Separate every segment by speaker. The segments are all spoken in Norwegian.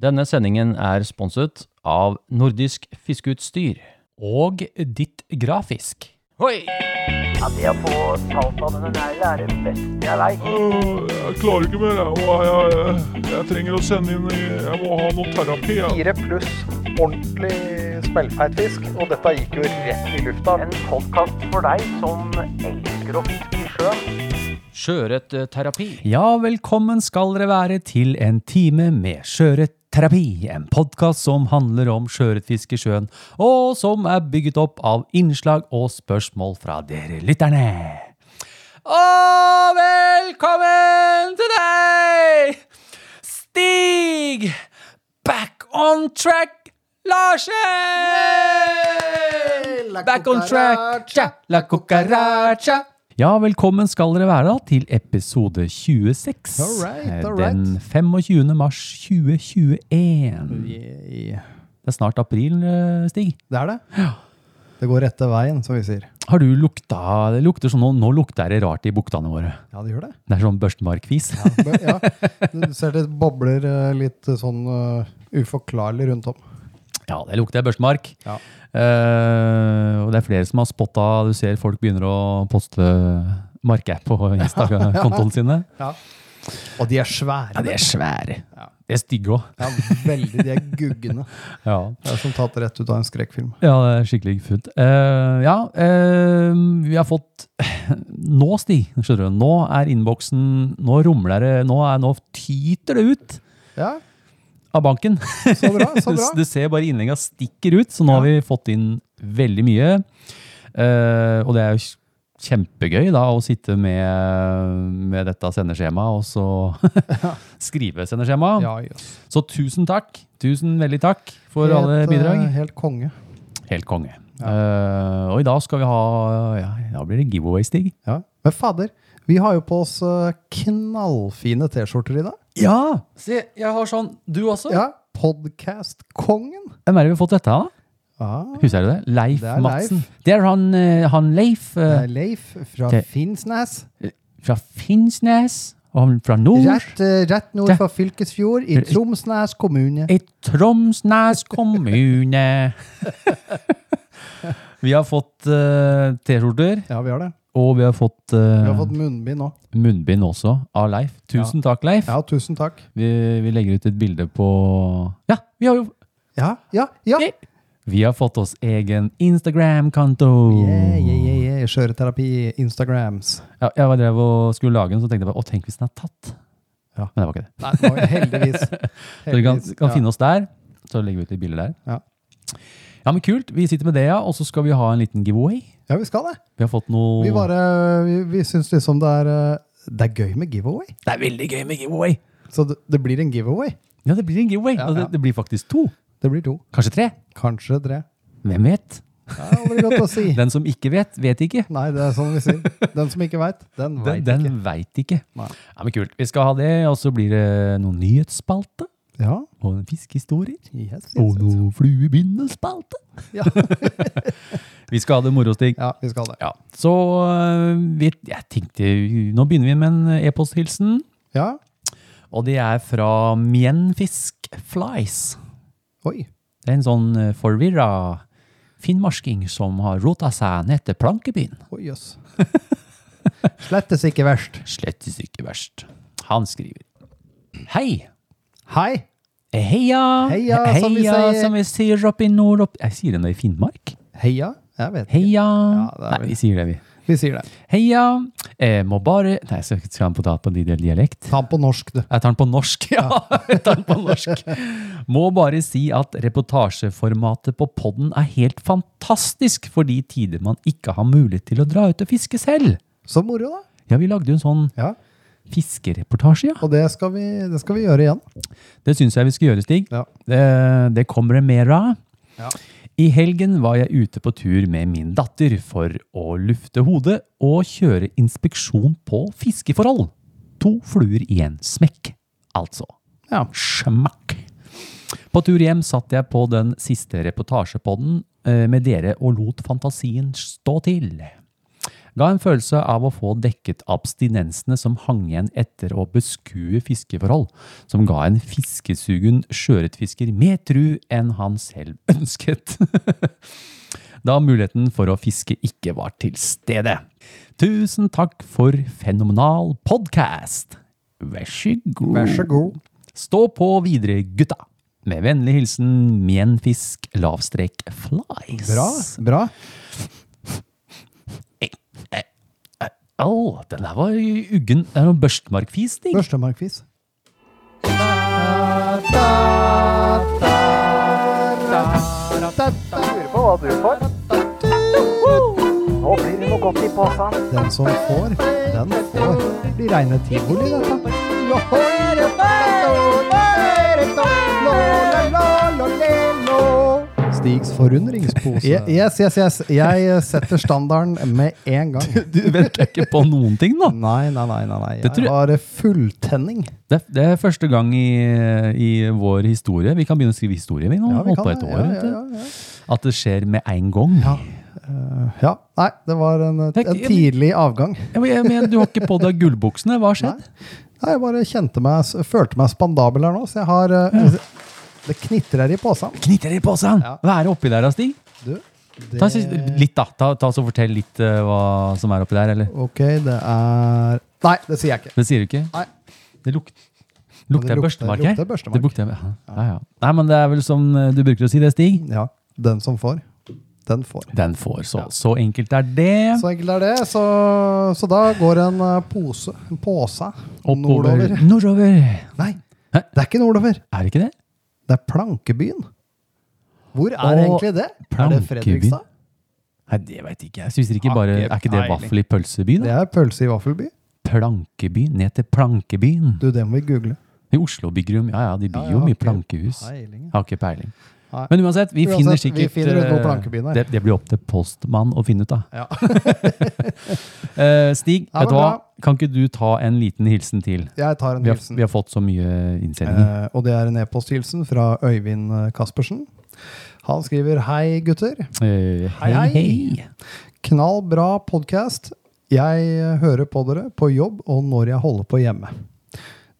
Speaker 1: Denne sendingen er sponset av Nordisk Fiskeutstyr.
Speaker 2: Og ditt grafisk.
Speaker 1: Hoi!
Speaker 3: Ja, det å få talt av denne neglen er det beste jeg veit.
Speaker 4: Øh, Jeg klarer ikke mer. Jeg, Åh, jeg, jeg, jeg trenger å sende inn i- Jeg må ha noe terapi. Jeg.
Speaker 5: Fire pluss ordentlig smellfeit fisk, og dette gikk jo rett i lufta.
Speaker 3: En podkast for deg som elsker å fiske i sjøen.
Speaker 2: eh,
Speaker 1: Sjøørretterapi.
Speaker 2: Ja, velkommen skal dere være til en time med Sjøørretterapi. En podkast som handler om sjøørretfiske i sjøen, og som er bygget opp av innslag og spørsmål fra dere lytterne. Og velkommen til deg, Stig Back on Track Larsen! Back on track, tja, la cucaracha. Ja, velkommen skal dere være da til episode 26.
Speaker 6: Alright,
Speaker 2: eh,
Speaker 6: alright.
Speaker 2: Den 25. mars 2021. Det er snart april, eh, Stig.
Speaker 6: Det er det. Det går rette veien, som vi sier.
Speaker 2: Har du lukta Det lukter sånn, nå, nå lukter det rart i buktene våre.
Speaker 6: Ja, det gjør det.
Speaker 2: Det er sånn børstemarkvis.
Speaker 6: Men, ja, du ser det bobler eh, litt sånn eh, uforklarlig rundt om.
Speaker 2: Ja, det lukter børstemark.
Speaker 6: Ja.
Speaker 2: Eh, og det er flere som har spotta Du ser folk begynner å poste markapp på Instagram-kontoene sine.
Speaker 6: Og de er svære.
Speaker 2: Ja, de er svære. De er stygge òg.
Speaker 6: Ja, veldig. De er guggende.
Speaker 2: Ja.
Speaker 6: Det er som tatt rett ut av en skrekkfilm.
Speaker 2: ja, det er skikkelig funnet. Eh, ja, eh, vi har fått Nå, Stig, skjønner du. Nå er innboksen Nå rumler det. Nå, er, nå tyter det ut
Speaker 6: Ja,
Speaker 2: av banken.
Speaker 6: så bra. så bra.
Speaker 2: Du ser bare innlegga stikker ut, så nå har vi fått inn veldig mye. Eh, og det er jo kjempegøy da, å sitte med, med dette sendeskjemaet og så skrive sendeskjemaet.
Speaker 6: Ja, jøss.
Speaker 2: Så tusen takk. Tusen veldig takk for alle
Speaker 6: Helt, eh,
Speaker 2: bidrag.
Speaker 6: Helt konge.
Speaker 2: Helt konge. Eh, og i dag skal vi ha ja, Da blir det giveaway, Stig.
Speaker 6: Ja. Men fader, vi har jo på oss eh, knallfine T-skjorter i dag.
Speaker 2: Ja! Se, jeg har sånn. Du også?
Speaker 6: Ja, Podcast-kongen.
Speaker 2: Hvem er det vi har fått dette av?
Speaker 6: Ja.
Speaker 2: Husker du det? Leif
Speaker 6: Det er Leif.
Speaker 2: Madsen. Det er han, eh, han Leif.
Speaker 6: Det
Speaker 2: eh,
Speaker 6: er Leif fra
Speaker 2: det-
Speaker 6: Finnsnes.
Speaker 2: fra Finnsnes, og han fra nord,
Speaker 6: Rett, eh, rett nord
Speaker 2: Det-
Speaker 6: for Fylkesfjord i Tromsnes kommune.
Speaker 2: i Tromsnes kommune. vi har fått eh, T-skjorter,
Speaker 6: Ja, vi har det.
Speaker 2: og vi har fått, eh,
Speaker 6: Vi har fått munnbind òg.
Speaker 2: munnbind også av Leif. Tusen takk, Leif.
Speaker 6: Ja, tusen takk.
Speaker 2: Vi, vi legger ut et bilde på Ja, vi har jo
Speaker 6: Ja, ja, ja! Yeah,
Speaker 2: vi har fått oss egen Instagram-konto.
Speaker 6: yeah, yeah, yeah. Skjøreterapi, Instagrams.
Speaker 2: Ja, jeg var drev og skulle lage den, så tenkte jeg bare å, tenk hvis den er tatt.
Speaker 6: Ja.
Speaker 2: Men det var ikke det.
Speaker 6: Nei, nå- heldigvis.
Speaker 2: Så dere kan,
Speaker 6: Heldigvis.
Speaker 2: kan
Speaker 6: Ja.
Speaker 2: finne oss der. Så legger vi ut litt bilder der.
Speaker 6: Ja.
Speaker 2: Ja, men kult. Vi sitter med det, ja. Og så skal vi ha en liten giveaway.
Speaker 6: Ja, vi skal det.
Speaker 2: Vi har fått noe
Speaker 6: Vi, bare- vi, vi syns liksom det er eh, Det er gøy med giveaway.
Speaker 2: Det er veldig gøy med giveaway!
Speaker 6: Så det, det blir en giveaway.
Speaker 2: Ja, det blir en giveaway.
Speaker 6: Ja,
Speaker 2: og
Speaker 6: ja.
Speaker 2: Det, det blir faktisk to.
Speaker 6: Det blir to.
Speaker 2: Kanskje tre.
Speaker 6: Kanskje tre.
Speaker 2: Hvem vet?
Speaker 6: Det er aldri godt å si.
Speaker 2: Den som ikke vet, vet ikke.
Speaker 6: Nei, det er sånn vi sier. Den som ikke veit, den
Speaker 2: Den,
Speaker 6: veit
Speaker 2: den
Speaker 6: ikke.
Speaker 2: veit ikke.
Speaker 6: Nei.
Speaker 2: Ja, men kult. Vi skal ha det, og så blir det noen nyhetsspalte.
Speaker 6: Ja.
Speaker 2: Og en fiskehistorier.
Speaker 6: Yes, yes,
Speaker 2: Og
Speaker 6: yes.
Speaker 2: noe fluebindespalte.
Speaker 6: Ja.
Speaker 2: Vi skal ha det moro, Stig.
Speaker 6: ja, vi skal det.
Speaker 2: Ja, så øh, vi, jeg tenkte, nå begynner vi med en e-posthilsen,
Speaker 6: Ja.
Speaker 2: og det er fra Mienfisk Flies.
Speaker 6: Oi.
Speaker 2: Det er en sånn øh, forvirra finnmarsking som har rota seg ned til plankebyen.
Speaker 6: Oi, jøss. Slettes ikke verst.
Speaker 2: Slettes ikke verst. Han skriver. Hei! eh,
Speaker 6: Hei!
Speaker 2: Heia!
Speaker 6: Heia,
Speaker 2: He-
Speaker 6: som vi
Speaker 2: heia,
Speaker 6: sier.
Speaker 2: som vi sier oppe i nord... Opp. Jeg sier det nå i Finnmark.
Speaker 6: Heia? Jeg vet ikke.
Speaker 2: Heia!
Speaker 6: det er
Speaker 2: Nei,
Speaker 6: vel-
Speaker 2: vi sier det vi.
Speaker 6: Vi sier det.
Speaker 2: Heia! Eh, må bare... Nei, så skal han på ta på dialekt.
Speaker 6: Ta den på norsk, du.
Speaker 2: Jeg tar den på norsk, ja. jeg tar den på norsk. Må bare si at reportasjeformatet på podden er helt fantastisk for de tider man ikke har mulighet til å dra ut og fiske selv.
Speaker 6: Så moro, da.
Speaker 2: Ja, vi lagde jo en sånn
Speaker 6: Ja.
Speaker 2: fiskereportasje, ja.
Speaker 6: Og det skal vi, det skal vi gjøre igjen.
Speaker 2: Det syns jeg vi skal gjøre, Stig.
Speaker 6: Ja.
Speaker 2: Det, det kommer det mer av.
Speaker 6: Ja.
Speaker 2: I helgen var jeg ute på tur med min datter for å lufte hodet og kjøre inspeksjon på fiskeforhold. To fluer i en smekk, altså.
Speaker 6: Ja.
Speaker 2: Smakk. På tur hjem satt jeg på den siste reportasjepodden eh, med dere og lot fantasien stå til. ga en følelse av å få dekket abstinensene som hang igjen etter å beskue fiskeforhold, som ga en fiskesugen sjøørretfisker mer tru enn han selv ønsket. da muligheten for å fiske ikke var til stede. Tusen takk for fenomenal podkast! Vær så god.
Speaker 6: Vær så god.
Speaker 2: Stå på videre, gutta! Med vennlig hilsen Mienfisk lavstrek flies.
Speaker 6: Bra. bra.
Speaker 2: Å, den der var uggen. Det er noe børstmarkfisting.
Speaker 6: Børstemarkfis.
Speaker 5: Lurer på hva du får.
Speaker 3: Nå blir det noe godt i posen.
Speaker 6: Den som får, den får. Det blir reine tivoli, dette. Stigs forundringspose. Yes, yes, yes. Jeg setter standarden med en gang.
Speaker 2: Du venter ikke på noen ting, da.
Speaker 6: Nei, nei, nei. nei, nei.
Speaker 2: Det tror
Speaker 6: Jeg
Speaker 2: jeg-
Speaker 6: har fulltenning.
Speaker 2: Det, det er første gang i, i vår historie. Vi kan begynne å skrive historie, vi nå.
Speaker 6: Ja, vi
Speaker 2: holdt
Speaker 6: kan
Speaker 2: på et
Speaker 6: det.
Speaker 2: år,
Speaker 6: Ja,
Speaker 2: vet du.
Speaker 6: ja, ja,
Speaker 2: At det skjer med en gang.
Speaker 6: ja. Eh, ja. Nei, det var en,
Speaker 2: Det er
Speaker 6: en
Speaker 2: ikke-
Speaker 6: tidlig avgang.
Speaker 2: Ja, men, men du har ikke på deg gullbuksene. Hva har skjedd?
Speaker 6: Nei, jeg bare kjente meg, følte meg spandabel her nå, så jeg har eh, Det knitrer i posen.
Speaker 2: Knytter i posen!
Speaker 6: Ja.
Speaker 2: Hva er det oppi der, da, Stig?
Speaker 6: Du,
Speaker 2: Ta,
Speaker 6: det,
Speaker 2: si- litt, da. Ta, ta så Fortell litt eh, hva som er oppi der. eller?
Speaker 6: ok, det er Nei, det sier jeg ikke.
Speaker 2: Det sier du ikke?
Speaker 6: Nei.
Speaker 2: Det luk lukter
Speaker 6: lukter-
Speaker 2: børstemark her.
Speaker 6: lukter børstemark.
Speaker 2: Det lukter, ja, ja, ja. Nei, men det er vel som eh, du bruker å si det, Stig.
Speaker 6: Ja, Den som får, den får.
Speaker 2: Den får så. Så enkelt er det.
Speaker 6: Så enkelt er det. Så, så da går en eh, pose, en påse,
Speaker 2: Oppover.
Speaker 6: nordover.
Speaker 2: Nordover.
Speaker 6: Nei,
Speaker 2: Hæ?
Speaker 6: det er ikke nordover.
Speaker 2: Er det ikke det?
Speaker 6: Det er Plankebyen. Hvor er
Speaker 2: Og
Speaker 6: egentlig det? Er det
Speaker 2: Plankebyen?
Speaker 6: Fredrikstad?
Speaker 2: Nei, det veit ikke jeg. Synes ikke bare,
Speaker 6: Har
Speaker 2: er
Speaker 6: ikke
Speaker 2: ikke det
Speaker 6: Ah, peiling.
Speaker 2: vaffel i pølseby?
Speaker 6: Det
Speaker 2: da?
Speaker 6: er pølse i vaffelby.
Speaker 2: Plankeby. Ned til Plankebyen.
Speaker 6: Du, det må vi google.
Speaker 2: I Oslo bygger de Ja ja, de bygger
Speaker 6: jeg
Speaker 2: jo
Speaker 6: har
Speaker 2: mye
Speaker 6: ikke
Speaker 2: plankehus.
Speaker 6: peiling.
Speaker 2: Har ikke peiling.
Speaker 6: Nei.
Speaker 2: Men uansett, vi
Speaker 6: Uansett,
Speaker 2: finner
Speaker 6: vi
Speaker 2: sikkert
Speaker 6: finner ut hvor
Speaker 2: eh,
Speaker 6: plankebyen er.
Speaker 2: Det, det blir opp til postmann å finne ut, da.
Speaker 6: Ja.
Speaker 2: Eh, Stig,
Speaker 6: Ja,
Speaker 2: vet du
Speaker 6: men
Speaker 2: hva?
Speaker 6: bra.
Speaker 2: Kan ikke du ta en liten hilsen til?
Speaker 6: Jeg tar en
Speaker 2: Vi har,
Speaker 6: hilsen.
Speaker 2: vi har fått så mye innsendinger.
Speaker 6: Eh, og det er en e-posthilsen fra Øyvind eh, Kaspersen. Han skriver Hei, gutter.
Speaker 2: Eh, hei,
Speaker 6: hei.
Speaker 2: hei.
Speaker 6: Knall bra podkast. Jeg eh, hører på dere på jobb og når jeg holder på hjemme.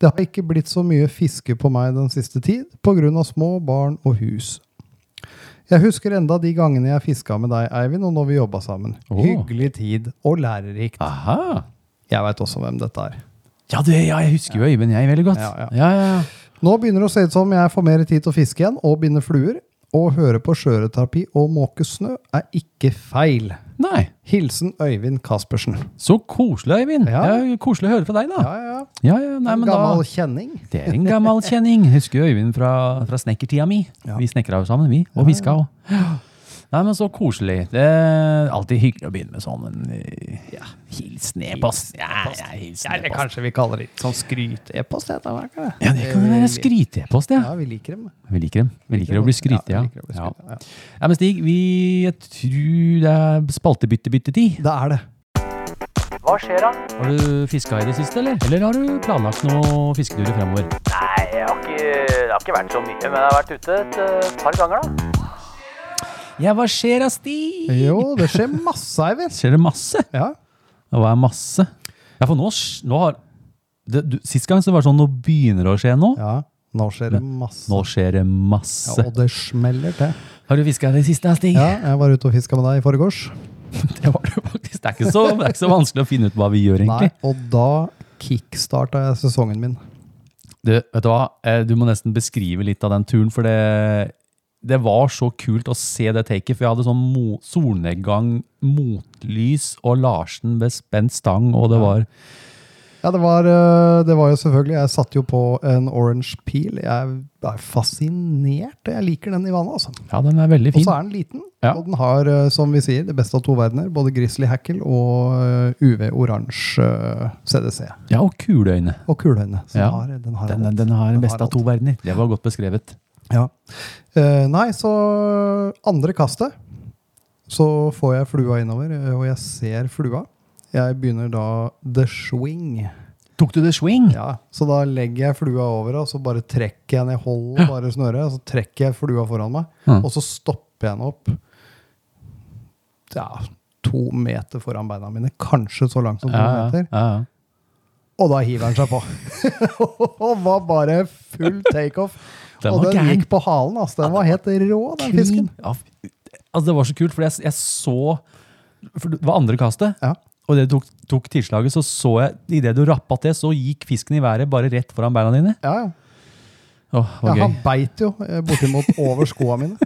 Speaker 6: Det har ikke blitt så mye fiske på meg den siste tid pga. små barn og hus. Jeg husker enda de gangene jeg fiska med deg, Eivind, og når vi jobba sammen.
Speaker 2: Åh.
Speaker 6: Hyggelig tid og lærerikt.
Speaker 2: Aha.
Speaker 6: Jeg veit også hvem dette er.
Speaker 2: Ja, det, ja, jeg husker jo Øyvind jeg veldig godt.
Speaker 6: Ja, ja.
Speaker 2: ja, ja.
Speaker 6: Nå begynner det å se ut som jeg får mer tid til å fiske igjen og binde fluer. Å høre på sjøørretterapi og måke snø er ikke feil.
Speaker 2: Nei,
Speaker 6: Hilsen Øyvind Caspersen.
Speaker 2: så koselig, Øyvind.
Speaker 6: Ja.
Speaker 2: Det er jo koselig å høre fra deg, da.
Speaker 6: Ja, ja.
Speaker 2: Ja, ja, nei, men
Speaker 6: Gammel
Speaker 2: da.
Speaker 6: kjenning.
Speaker 2: Det er en gammel kjenning. Husker jo Øyvind fra, fra snekkertida mi.
Speaker 6: Ja.
Speaker 2: Vi snekra jo sammen, vi. Og hviska òg. Nei, men så koselig. Det er alltid hyggelig å begynne med sånn en eh, hilsen e-post. Ja, ja, hilsen e-post.
Speaker 6: vi kaller det sånn skryt-e-post. Ja,
Speaker 2: Ja, det kan være skryte-e-post, Eh, ja.
Speaker 6: vi liker dem.
Speaker 2: Vi liker dem. Vi liker å bli skryte, ja.
Speaker 6: vi liker å bli
Speaker 2: ja.
Speaker 6: skrytet, ja.
Speaker 2: Ja, men Stig, vi jeg tror det er spaltebytte-byttetid.
Speaker 6: Det er det.
Speaker 3: Hva skjer da?
Speaker 2: Har du fiska i det siste, eller? Eller har du planlagt noen fisketurer fremover?
Speaker 3: Nei, jeg har ikke, det har ikke vært så mye, men jeg har vært ute et eh, par ganger da.
Speaker 2: Ja, hva skjer da, Stig?
Speaker 6: Jo, det skjer masse, Eivind.
Speaker 2: Skjer det masse?
Speaker 6: Ja.
Speaker 2: Og hva er masse? Ja, for nå, sk- nå har det, du, Sist gang så var det sånn, nå begynner det å skje nå.
Speaker 6: ja. Nå skjer det masse.
Speaker 2: Nå skjer det
Speaker 6: Ja,
Speaker 2: masse.
Speaker 6: og det smeller til.
Speaker 2: Har du fiska i det siste, da, Stig?
Speaker 6: Ja, jeg var ute og fiska med deg i forgårs.
Speaker 2: Det var det faktisk. Det er ikke så, det er ikke så vanskelig å finne ut hva vi gjør,
Speaker 6: Nei,
Speaker 2: egentlig.
Speaker 6: og da kickstarta jeg sesongen min.
Speaker 2: Du, vet du hva? Eh, Du må nesten beskrive litt av den turen, for det, det var så kult å se det taket. For jeg hadde sånn mo solnedgang, motlys og Larsen ved spent stang, og det var
Speaker 6: Ja, det var, øh, det var jo selvfølgelig Jeg satte jo på en orange peel. Jeg er fascinert. og Jeg liker den i vannet, altså.
Speaker 2: Ja, den er veldig
Speaker 6: Og
Speaker 2: fin.
Speaker 6: så er den liten,
Speaker 2: Ja.
Speaker 6: og den har, øh, som vi sier, det beste av to verdener. Både Grizzly Hackle og øh, UV oransje øh, CDC.
Speaker 2: Ja, og kuleøyne.
Speaker 6: Og kulehøyne. Så
Speaker 2: Ja.
Speaker 6: Den har, den har
Speaker 2: Den, den,
Speaker 6: alt.
Speaker 2: den har den beste av
Speaker 6: alt.
Speaker 2: to verdener. Det var godt beskrevet.
Speaker 6: Ja. Eh, nei, så andre kastet så får jeg flua innover, eh, og jeg ser flua. Jeg begynner da the swing.
Speaker 2: Tok du det swing?
Speaker 6: Ja, så da legger jeg flua over, og så bare trekker jeg ned holdet, bare snøret, og så trekker jeg flua foran meg,
Speaker 2: Mm.
Speaker 6: og så stopper jeg den opp. Ja, to meter foran beina mine. Kanskje så langt som to
Speaker 2: Ja, ja,
Speaker 6: meter.
Speaker 2: ja, ja.
Speaker 6: Og da hiver han seg på. og var bare full takeoff.
Speaker 2: Den
Speaker 6: Og
Speaker 2: var
Speaker 6: den
Speaker 2: gæren.
Speaker 6: gikk på halen. ass. Den var helt rå, den fisken.
Speaker 2: Ja, f- altså, det var så kult, for jeg, jeg så for Det var andre kastet,
Speaker 6: Ja.
Speaker 2: og det du tok, tok tilslaget, så så jeg Idet du rappa til, så gikk fisken i været bare rett foran beina dine.
Speaker 6: Ja, ja.
Speaker 2: Åh, det
Speaker 6: ja,
Speaker 2: var gøy.
Speaker 6: han beit jo eh, bortimot over skoa mine.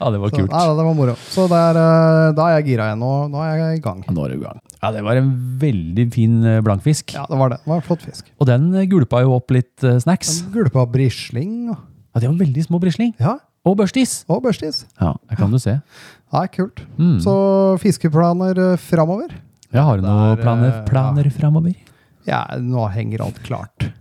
Speaker 2: Ja, det var
Speaker 6: Så,
Speaker 2: kult.
Speaker 6: nei, det var moro. Så der, eh, da er jeg gira igjen. Og nå er jeg i gang.
Speaker 2: Ja, Nå er det i gang. Ja, det var en veldig fin eh, blankfisk.
Speaker 6: Ja, det var det. Det var en flott fisk.
Speaker 2: Og den eh, gulpa jo opp litt eh, snacks.
Speaker 6: Gulpa brisling og-
Speaker 2: Ja, det var veldig små brisling.
Speaker 6: ja,
Speaker 2: Og børstis.
Speaker 6: og børstis.
Speaker 2: Ja, der kan du se.
Speaker 6: Ja, kult.
Speaker 2: Mm.
Speaker 6: Så fiskeplaner eh, framover.
Speaker 2: Jeg har du noen
Speaker 6: Der, eh,
Speaker 2: planer, planer framover?
Speaker 6: Ja, nå henger alt klart.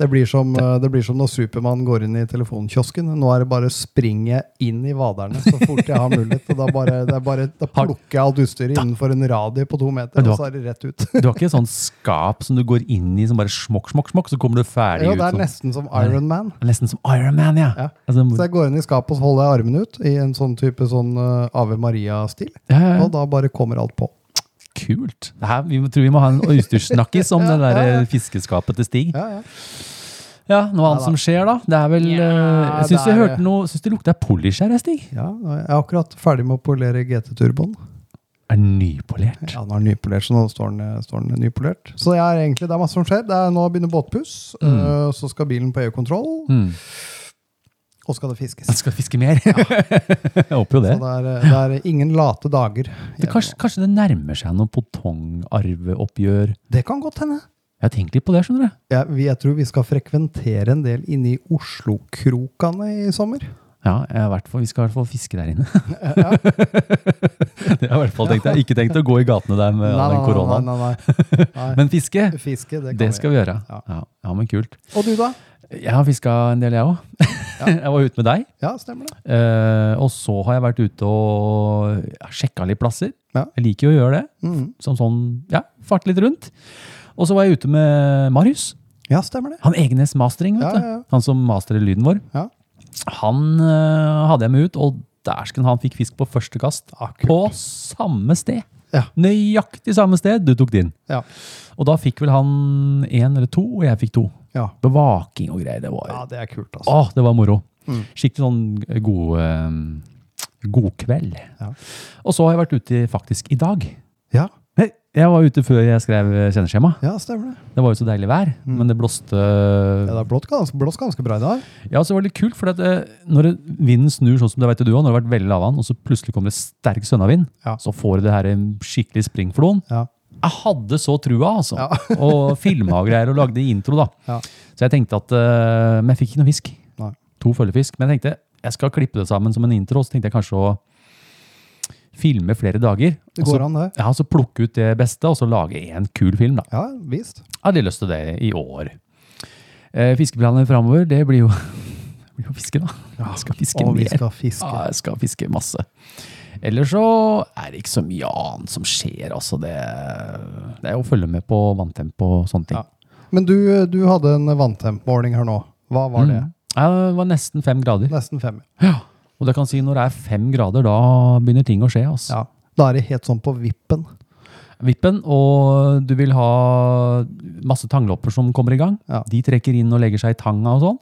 Speaker 6: Det blir, som, eh, det blir som når Supermann går inn i telefonkiosken. Nå er det bare å springe inn i vaderne så fort jeg har mulighet. Og da, bare, det er bare, da
Speaker 2: Har-
Speaker 6: plukker jeg alt utstyret innenfor en radie på to meter,
Speaker 2: Men du
Speaker 6: og
Speaker 2: har-
Speaker 6: så er det rett ut.
Speaker 2: Du har ikke et sånt skap som du går inn i som bare smokk, smokk, smokk, så kommer du ferdig
Speaker 6: Jo,
Speaker 2: ut?
Speaker 6: det er
Speaker 2: som-
Speaker 6: nesten som Iron Man.
Speaker 2: Nesten som Iron Man, ja.
Speaker 6: Ja.
Speaker 2: Altså,
Speaker 6: Så jeg går inn i skapet og så holder jeg armene ut i en sånn type sånn eh, Ave Maria-stil.
Speaker 2: ja, ja, ja.
Speaker 6: Og da bare kommer alt på.
Speaker 2: Kult. Det her, vi må- tror vi må ha en utstyrssnakkis om
Speaker 6: Ja,
Speaker 2: det der
Speaker 6: ja, ja.
Speaker 2: eh, fiskeskapet til Stig. Ja,
Speaker 6: Ja, ja.
Speaker 2: noe annet
Speaker 6: da.
Speaker 2: som skjer da? Det er vel eh, Jeg syns
Speaker 6: det
Speaker 2: jeg
Speaker 6: er-
Speaker 2: hørte noe Syns det lukta polish her, eh, Stig?
Speaker 6: ja, jeg er akkurat ferdig med å polere GT-turboen.
Speaker 2: Er den nypolert?
Speaker 6: Ja, den er nypolert, så nå står den, eh, står den nypolert. Så jeg er egentlig, det er masse som skjer. Det er Nå begynner båtpuss, øh, så skal bilen på EU-kontroll,
Speaker 2: Mm.
Speaker 6: og skal det fiskes.
Speaker 2: Den skal fiske mer? jeg håper jo
Speaker 6: Så
Speaker 2: det.
Speaker 6: det er, øh, det er ingen late dager.
Speaker 2: det kanskje, kanskje det nærmer seg noe potongarveoppgjør?
Speaker 6: Det kan godt hende.
Speaker 2: Jeg har tenkt litt på det, skjønner du.
Speaker 6: Jeg, vi- jeg tror vi skal frekventere en del inne i Oslo-krokene i sommer.
Speaker 2: Ja, jeg har hvert fall- vi skal i hvert fall fiske der inne. det har jeg i hvert fall tenkt. Jeg har ikke tenkt å gå i gatene der med all den koronaen.
Speaker 6: nei, nei, nei, nei.
Speaker 2: Men fiske,
Speaker 6: Fiske, det kan
Speaker 2: det skal vi gjøre.
Speaker 6: Ja.
Speaker 2: Ja, ja men kult.
Speaker 6: Og du, da?
Speaker 2: Jeg har fiska en del, jeg òg. jeg var ute med deg.
Speaker 6: Ja, stemmer det.
Speaker 2: eh, og så har jeg vært ute og sjekka litt plasser.
Speaker 6: Ja.
Speaker 2: Jeg liker jo å gjøre det.
Speaker 6: Mhm.
Speaker 2: Som sånn, ja, Farte litt rundt. Og så var jeg ute med Marius.
Speaker 6: Ja, stemmer det.
Speaker 2: Han Egenes Mastering, vet
Speaker 6: Ja,
Speaker 2: du.
Speaker 6: ja, ja.
Speaker 2: Han som masterer lyden vår.
Speaker 6: Ja.
Speaker 2: Han eh, hadde jeg med ut, og dæsken, han fikk fisk på første kast. på samme sted.
Speaker 6: Ah, Ja.
Speaker 2: Nøyaktig samme sted du tok din.
Speaker 6: Ja.
Speaker 2: Og da fikk vel han én eller to, og jeg fikk to.
Speaker 6: Ja.
Speaker 2: Bevaking og greier. Det var
Speaker 6: ja, det er kult, altså.
Speaker 2: Åh, det var moro.
Speaker 6: Mm.
Speaker 2: Skikkelig sånn god, eh, god kveld.
Speaker 6: Ja.
Speaker 2: Og så har jeg vært ute faktisk i dag.
Speaker 6: Ja,
Speaker 2: Nei, jeg var ute før jeg skrev eh, sendeskjema.
Speaker 6: ja stemmer det.
Speaker 2: Det var jo så deilig vær, men det blåste
Speaker 6: Mm. Ja, det er blåst ganske, blåst ganske bra i dag.
Speaker 2: Ja, så var det litt kult, for at, eh, når det- vinden snur sånn som det vet du også, når det har vært veldig lav vann, og så plutselig kommer det sterk sønnavind,
Speaker 6: Ja.
Speaker 2: så får du det her eh, skikkelig springfloen.
Speaker 6: Ja.
Speaker 2: Jeg hadde så trua, altså.
Speaker 6: Ja.
Speaker 2: og filma og greier og lagde intro, da.
Speaker 6: Ja.
Speaker 2: Så jeg tenkte at eh, Men jeg fikk ikke noe fisk.
Speaker 6: Nei.
Speaker 2: To følgefisk. Men jeg tenkte jeg skal klippe det sammen som en intro, så tenkte jeg kanskje å filme flere dager.
Speaker 6: Det
Speaker 2: og så,
Speaker 6: går an, det.
Speaker 2: ja, så plukke ut det beste, og så lage én kul film, da.
Speaker 6: Ja, visst.
Speaker 2: Jeg hadde lyst til det i år. Eh, fiskeplaner framover, det blir jo det blir jo fiske, da. Jeg skal fiske
Speaker 6: Og vi
Speaker 2: mer.
Speaker 6: skal fiske.
Speaker 2: Ja, jeg skal fiske masse. Ellers så er det ikke så mye annet som skjer. Altså det, det er å følge med på vanntempo og sånne ting.
Speaker 6: Ja. Men du, du hadde en vanntempmåling her nå. Hva var det?
Speaker 2: Mm. Ja, det var nesten fem grader.
Speaker 6: Nesten fem.
Speaker 2: Og det kan si når det er fem grader, da begynner ting å skje. Altså.
Speaker 6: Ja. Da er det helt sånn på vippen.
Speaker 2: Vippen, og du vil ha masse tanglopper som kommer i gang.
Speaker 6: Ja.
Speaker 2: De trekker inn og legger seg i tanga og sånn.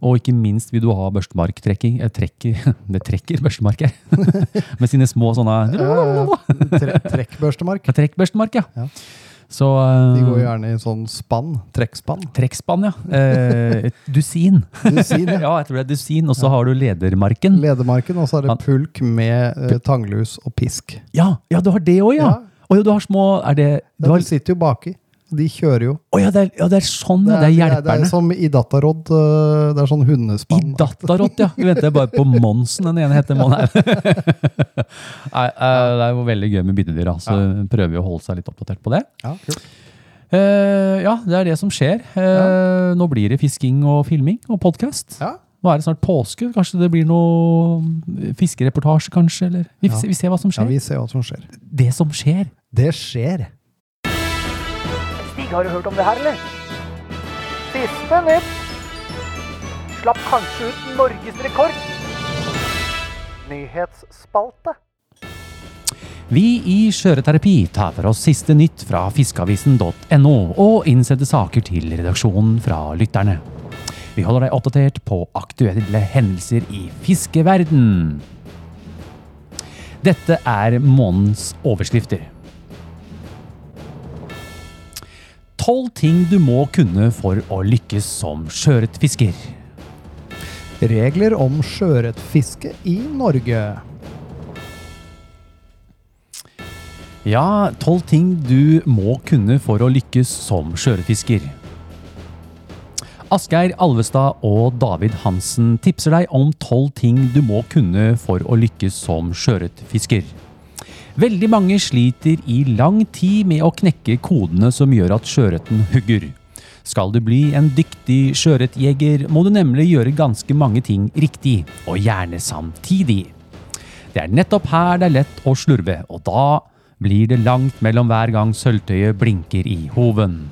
Speaker 2: Og ikke minst vil du ha børstemarktrekking. eh, Trekker, det trekker børstemark her. Med sine små sånne
Speaker 6: Tre, trekkbørstemark.
Speaker 2: Trekk børstemark, ja.
Speaker 6: Ja.
Speaker 2: Så
Speaker 6: De går
Speaker 2: eh,
Speaker 6: gjerne i sånn spann. Trekkspann.
Speaker 2: Trekkspann, ja. Eh, et dusin.
Speaker 6: Du sier det.
Speaker 2: Ja, jeg tror det er dusin. Og så har du ledermarken.
Speaker 6: Ledemarken, og så er det pulk med eh, tanglus og pisk.
Speaker 2: Ja, ja du har det òg, ja!
Speaker 6: Ja.
Speaker 2: Å ja, du har små Er det du
Speaker 6: Ja,
Speaker 2: har,
Speaker 6: De sitter jo baki. De kjører jo.
Speaker 2: Å ja, det er, ja, det er sånn, ja. Det er
Speaker 6: Det er
Speaker 2: hjelperne.
Speaker 6: som i Dataråd. eh, Det er sånn
Speaker 2: I
Speaker 6: hundespann.
Speaker 2: Datarott, ja. Vi venter bare på Monsen, den ene heter Mon. Nei, eh, det er jo veldig gøy med byttedyr, så prøver vi å holde seg litt oppdatert på det.
Speaker 6: Ja, kult.
Speaker 2: Eh, ja, det er det som skjer. Eh, Nå blir det fisking og filming og podkast.
Speaker 6: Ja.
Speaker 2: Nå er det snart påske. Kanskje det blir noe fiskereportasje, kanskje? Eller? Vi,
Speaker 6: Ja.
Speaker 2: vi ser hva som
Speaker 6: ja,
Speaker 2: skjer.
Speaker 6: vi ser hva som skjer.
Speaker 2: Det som skjer.
Speaker 6: Det skjer.
Speaker 3: Stig, har du hørt om det her, eller? Siste nytt. Slapp kanskje ut norgesrekord. Nyhetsspalte.
Speaker 2: Vi i Skjøreterapi tar for oss siste nytt fra fiskeavisen.no og innsendte saker til redaksjonen fra lytterne. Vi holder deg oppdatert på aktuelle hendelser i fiskeverden. Dette er månedens overskrifter. Tolv ting du må kunne for å lykkes som sjøørretfisker.
Speaker 6: Regler om sjøørretfiske i Norge.
Speaker 2: Ja, tolv ting du må kunne for å lykkes som sjøørretfisker. Asgeir Alvestad og David Hansen tipser deg om tolv ting du må kunne for å lykkes som sjøørretfisker. Veldig mange sliter i lang tid med å knekke kodene som gjør at sjøørreten hugger. Skal du bli en dyktig sjøørretjeger, må du nemlig gjøre ganske mange ting riktig, og gjerne samtidig. Det er nettopp her det er lett å slurve, og da blir det langt mellom hver gang sølvtøyet blinker i hoven.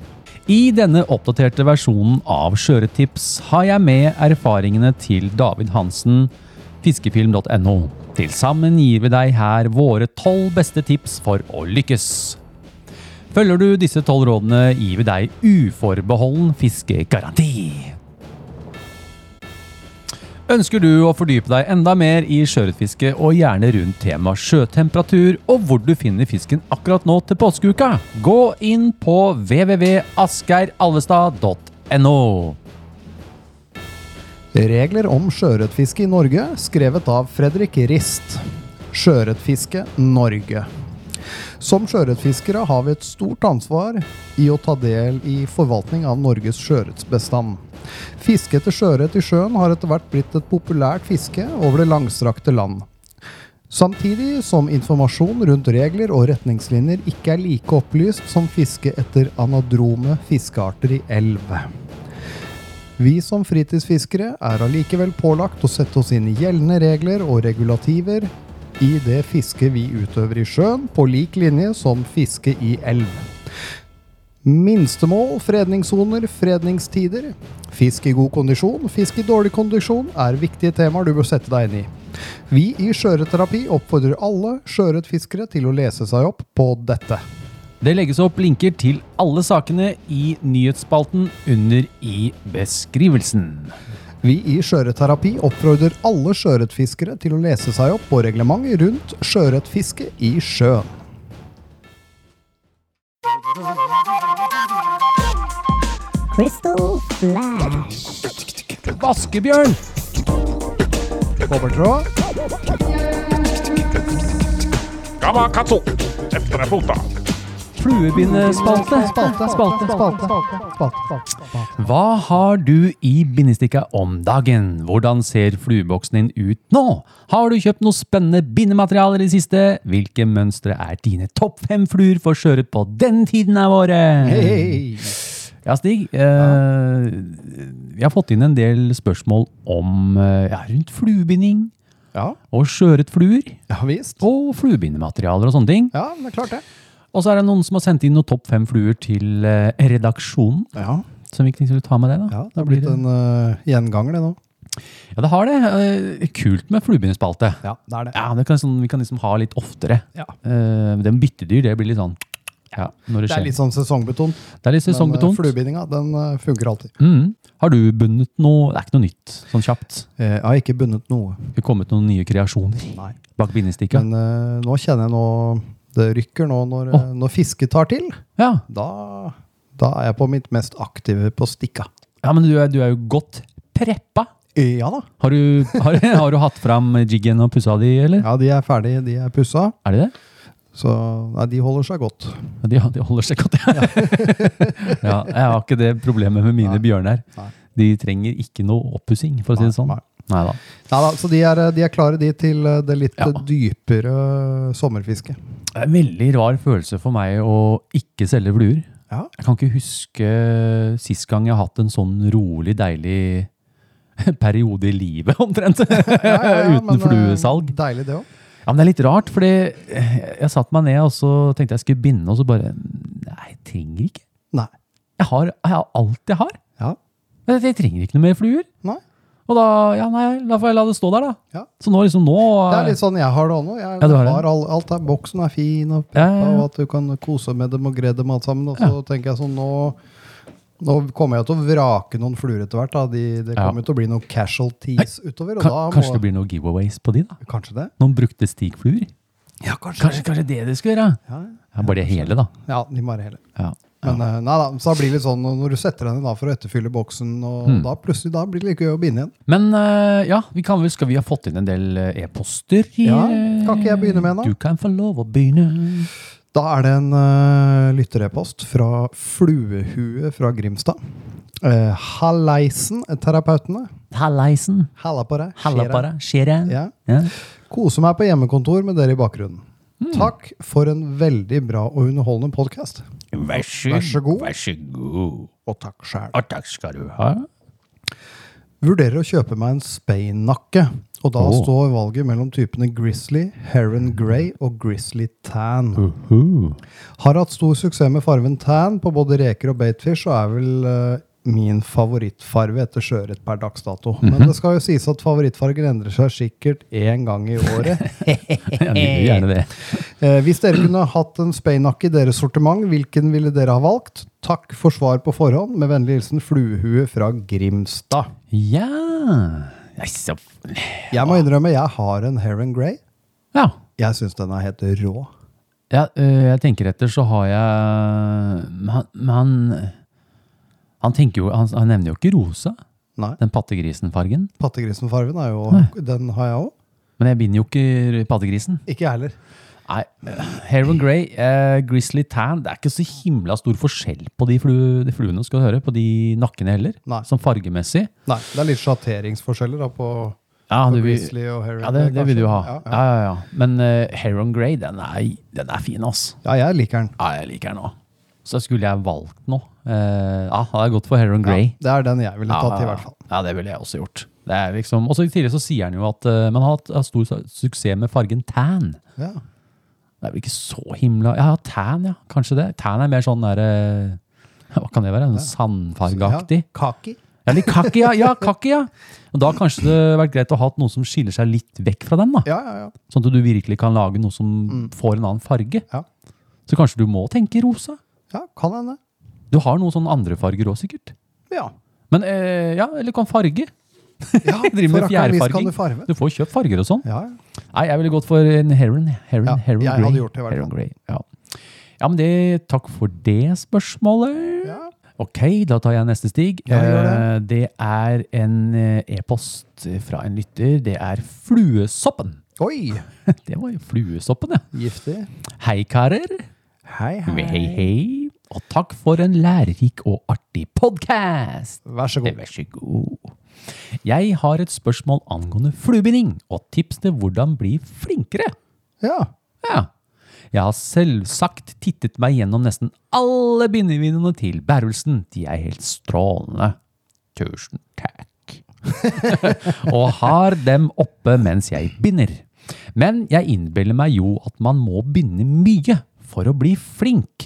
Speaker 2: I denne oppdaterte versjonen av Skjøretips har jeg med erfaringene til David Hansen, fiskefilm.no. Til sammen gir vi deg her våre tolv beste tips for å lykkes. Følger du disse tolv rådene, gir vi deg uforbeholden fiskegaranti. Ønsker du å fordype deg enda mer i sjøørretfiske, og gjerne rundt tema sjøtemperatur og hvor du finner fisken akkurat nå til påskeuka? Gå inn på www.asgeiralvestad.no.
Speaker 6: Regler om sjøørretfiske i Norge, skrevet av Fredrik Rist. Sjøørretfiske Norge. Som sjøørretfiskere har vi et stort ansvar i å ta del i forvaltning av Norges sjøørretbestand. Fiske etter sjøørret i sjøen har etter hvert blitt et populært fiske over det langstrakte land. Samtidig som informasjon rundt regler og retningslinjer ikke er like opplyst som fiske etter anadrome fiskearter i elv. Vi som fritidsfiskere er allikevel pålagt å sette oss inn i gjeldende regler og regulativer i det fisket vi utøver i sjøen, på lik linje som fiske i elv. Minstemål, fredningssoner, fredningstider. Fisk i god kondisjon, fisk i dårlig kondisjon er viktige temaer du bør sette deg inn i. Vi i Sjøørretterapi oppfordrer alle sjøørretfiskere til å lese seg opp på dette.
Speaker 2: Det legges opp linker til alle sakene i nyhetsspalten under i beskrivelsen.
Speaker 6: Vi i Sjøørretterapi oppfordrer alle sjøørretfiskere til å lese seg opp på reglementet rundt sjøørretfiske i sjøen.
Speaker 7: Crystal Flash.
Speaker 2: Vaskebjørn!
Speaker 6: Kobbertråd,
Speaker 4: Gamma katso! Efter deg fota.
Speaker 2: Fluebindespalte.
Speaker 6: spalte, spalte, spalte, spalte, spalte, spalte.
Speaker 2: Hva har du i bindestikka om dagen? Hvordan ser flueboksen din ut nå? Har du kjøpt noe spennende bindematerialer i det siste? Hvilke mønstre er dine topp fem fluer for skjøret på den tiden av året?
Speaker 6: Hei!
Speaker 2: Ja, Stig. Eh, vi har fått inn en del spørsmål om eh, ja, rundt fluebinding
Speaker 6: Ja,
Speaker 2: og skjøret fluer.
Speaker 6: ja visst.
Speaker 2: Og fluebindematerialer og sånne ting.
Speaker 6: Ja, det er klart det.
Speaker 2: Og så er det noen som har sendt inn noen topp fem fluer til eh, redaksjonen.
Speaker 6: Ja,
Speaker 2: Som vi skulle ta med det, da.
Speaker 6: ja det har blitt en eh, gjenganger det nå.
Speaker 2: Ja, det har det. Eh, Kult med fluebindespalte.
Speaker 6: Ja, det er det.
Speaker 2: Ja, det kan, sånn, vi kan liksom ha litt oftere.
Speaker 6: Ja.
Speaker 2: Eh, den byttedyr, det blir litt sånn ja, når det,
Speaker 6: Det
Speaker 2: skjer.
Speaker 6: er litt sånn sesongbetont.
Speaker 2: det er litt
Speaker 6: Men eh,
Speaker 2: sesongbetont.
Speaker 6: fluebindinga, den eh, funker alltid.
Speaker 2: Mm. Har du bundet noe Det er ikke noe nytt, sånn kjapt.
Speaker 6: Eh, Jeg har ikke bundet noe.
Speaker 2: Det har kommet noen nye kreasjoner
Speaker 6: Nei.
Speaker 2: bak bindestikka.
Speaker 6: Men eh, nå kjenner jeg nå Det rykker nå når,
Speaker 2: Åh.
Speaker 6: eh, når fisket tar til.
Speaker 2: Ja.
Speaker 6: Da, da er jeg på mitt mest aktive på stikka.
Speaker 2: ja, men du er, du er jo godt preppa.
Speaker 6: Eh, Ja da.
Speaker 2: Har du, har, har du hatt fram jiggen og pussa di, eller?
Speaker 6: Ja, de er ferdige, de er pussa.
Speaker 2: Er de det?
Speaker 6: Så nei, de holder seg godt.
Speaker 2: Ja, De, de holder seg godt, ja. ja. Jeg har ikke det problemet med mine
Speaker 6: Nei.
Speaker 2: bjørner.
Speaker 6: Nei.
Speaker 2: De trenger ikke noe oppussing, for å si det sånn.
Speaker 6: Nei,
Speaker 2: Neida.
Speaker 6: Neida, så de er, eh, de er klare, de, til eh, det litt
Speaker 2: Ja.
Speaker 6: eh, dypere sommerfisket.
Speaker 2: Det er en veldig rar følelse for meg å ikke selge fluer.
Speaker 6: Ja.
Speaker 2: Jeg kan ikke huske sist gang jeg har hatt en sånn rolig, deilig periode i livet, omtrent. Uten
Speaker 6: men, eh,
Speaker 2: fluesalg.
Speaker 6: Deilig, det òg.
Speaker 2: Ja, men det er litt rart, fordi jeg satte meg ned og så tenkte jeg skulle binde, og så bare Nei, jeg trenger ikke.
Speaker 6: Nei.
Speaker 2: Jeg har, jeg har alt jeg har.
Speaker 6: Ja.
Speaker 2: Men Jeg trenger ikke noe mer fluer.
Speaker 6: Nei.
Speaker 2: Og da, ja, nei, da får jeg la det stå der, da.
Speaker 6: Ja.
Speaker 2: Så nå liksom nå
Speaker 6: Det er litt sånn jeg har det òg nå. Jeg
Speaker 2: Ja, du har det.
Speaker 6: har all, alt er, boksen er fin, og,
Speaker 2: Ja, ja, ja.
Speaker 6: og at du kan kose med dem og gre dem alt sammen. Og så tenker jeg sånn nå, nå kommer jeg til å vrake noen fluer etter hvert. Da. De, det
Speaker 2: Ja.
Speaker 6: kommer jo til å bli noen casualties utover. Og
Speaker 2: ka-
Speaker 6: sånn, da må,
Speaker 2: Kanskje det blir noen giveaways på de, da?
Speaker 6: Kanskje det?
Speaker 2: Noen brukte stigfluer?
Speaker 6: Ja, kanskje.
Speaker 2: Kanskje, kanskje det du skulle gjøre?
Speaker 6: Ja,
Speaker 2: Ja, bare det hele, da.
Speaker 6: ja de må være hele.
Speaker 2: Ja.
Speaker 6: Men eh, nei da, så da blir det litt sånn når du setter deg ned da for å etterfylle boksen, og
Speaker 2: Hmm.
Speaker 6: da plutselig da blir det like gøy å begynne igjen.
Speaker 2: Men eh, ja, vi kan vel, skal vi ha fått inn en del eh, e-poster? i,
Speaker 6: Ja,
Speaker 2: eh,
Speaker 6: kan ikke jeg begynne med en da?
Speaker 2: Du kan få lov å begynne.
Speaker 6: Da er det en eh, lytterepost fra Fluehue fra Grimstad. Eh, Halleisen, terapeutene.
Speaker 2: Halleisen.
Speaker 6: Halla på deg.
Speaker 2: Halla
Speaker 6: Skjer
Speaker 2: på deg. Skjer jeg?
Speaker 6: Ja.
Speaker 2: Ja.
Speaker 6: Kose meg på hjemmekontor med dere i bakgrunnen. Takk for en veldig bra og underholdende podkast.
Speaker 2: Vær så,
Speaker 6: Vær så god.
Speaker 2: Vær så god.
Speaker 6: Og takk sjæl.
Speaker 2: Og takk skal du ha.
Speaker 6: Vurderer å kjøpe meg en speinnakke. Og da
Speaker 2: Åh.
Speaker 6: står valget mellom typene Grizzly, Heron Grey og Grizzly Tan. Har hatt stor suksess med farven tan på både reker og baitfish, og er vel eh, min favorittfarve etter sjøørret per dags dato. Men det skal jo sies at favorittfargen endrer seg sikkert én gang i året.
Speaker 2: Ja, vi gjør gjerne det.
Speaker 6: Eh, hvis dere kunne hatt en speinakk i deres sortiment, hvilken ville dere ha valgt? Takk for svar på forhånd. Med vennlig hilsen Fluehue fra Grimstad.
Speaker 2: Ja. Nei, så
Speaker 6: Jeg må innrømme, jeg har en Heron Grey.
Speaker 2: Ja.
Speaker 6: Jeg syns den er helt rå.
Speaker 2: ja ø, jeg tenker etter, så har jeg Men han- men han han, tenker jo, han, han nevner jo ikke rosa,
Speaker 6: Nei.
Speaker 2: den pattegrisenfargen.
Speaker 6: Pattegrisenfargen er jo Den har jeg òg.
Speaker 2: Men jeg binder jo ikke pattegrisen.
Speaker 6: Ikke jeg heller.
Speaker 2: Nei, Heron Grey, eh, Grizzly Tan, det er ikke så himla stor forskjell på de, flu, de fluene, skal du høre, på de nakkene heller,
Speaker 6: Nei.
Speaker 2: som fargemessig.
Speaker 6: Nei, det er litt sjatteringsforskjeller da på,
Speaker 2: Ja,
Speaker 6: på
Speaker 2: du vil-
Speaker 6: Grizzly og Heron
Speaker 2: Ja, det,
Speaker 6: Grey,
Speaker 2: det vil du
Speaker 6: kanskje.
Speaker 2: ha.
Speaker 6: Ja,
Speaker 2: Ja, ja, ja. Men eh, Heron Grey, den er, den er fin, ass.
Speaker 6: ja. ja, jeg liker den.
Speaker 2: Ja, jeg liker den òg. Så skulle jeg valgt noe. eh, ja, hadde jeg gått for Heron Grey.
Speaker 6: Det er den jeg ville
Speaker 2: Ja,
Speaker 6: tatt, i
Speaker 2: ja,
Speaker 6: hvert fall.
Speaker 2: ja, det ville jeg også gjort. Det er liksom, og så i tillegg så sier han jo at eh, man har hatt hatt stor su- suksess med fargen tan.
Speaker 6: Ja.
Speaker 2: Det er vel ikke så himla Ja, tan, ja. Kanskje det. Tan er mer sånn derre Hva kan det være? Sånn Sandfargeaktig?
Speaker 6: Ja, kaki.
Speaker 2: Ja, litt kakki, ja. ja, kakki, ja. Og da kanskje det hadde vært greit å ha hatt noe som skiller seg litt vekk fra den. da.
Speaker 6: Ja, ja, ja.
Speaker 2: Sånn at du virkelig kan lage noe som får en annen farge.
Speaker 6: Ja.
Speaker 2: Så kanskje du må tenke rosa.
Speaker 6: ja kan hende.
Speaker 2: Du har noen sånne andre farger òg, sikkert.
Speaker 6: Ja.
Speaker 2: Men eh, ja, eller kan farge.
Speaker 6: ja
Speaker 2: Driver med
Speaker 6: for akkurat visst kan
Speaker 2: fjærfarging.
Speaker 6: du farve.
Speaker 2: Du får kjøpt farger og sånn.
Speaker 6: Ja, ja.
Speaker 2: Nei, jeg ville gått for en heron. Heron,
Speaker 6: Ja,
Speaker 2: heron
Speaker 6: jeg
Speaker 2: grey.
Speaker 6: hadde gjort det i hvert
Speaker 2: Heron
Speaker 6: fall.
Speaker 2: grey, Ja. ja, men det, takk for det spørsmålet.
Speaker 6: Ja.
Speaker 2: Ok, da tar jeg neste stig. Eh,
Speaker 6: Ja, gjør
Speaker 2: det. er en eh, e-post fra en lytter. Det er fluesoppen.
Speaker 6: Oi!
Speaker 2: Det var jo fluesoppen, ja.
Speaker 6: Giftig.
Speaker 2: Hei, karer.
Speaker 6: Hei,
Speaker 2: Hei, hei. Og takk for en lærerik og artig podkast!
Speaker 6: Vær så god.
Speaker 2: Vær så god. Jeg har et spørsmål angående fluebinding, og tips til hvordan bli flinkere.
Speaker 6: Ja.
Speaker 2: Ja. Jeg har selvsagt tittet meg gjennom nesten alle bindevinene til Bærelsen. De er helt strålende. Tusen takk. og har dem oppe mens jeg binder. Men jeg innbiller meg jo at man må binde mye for å bli flink.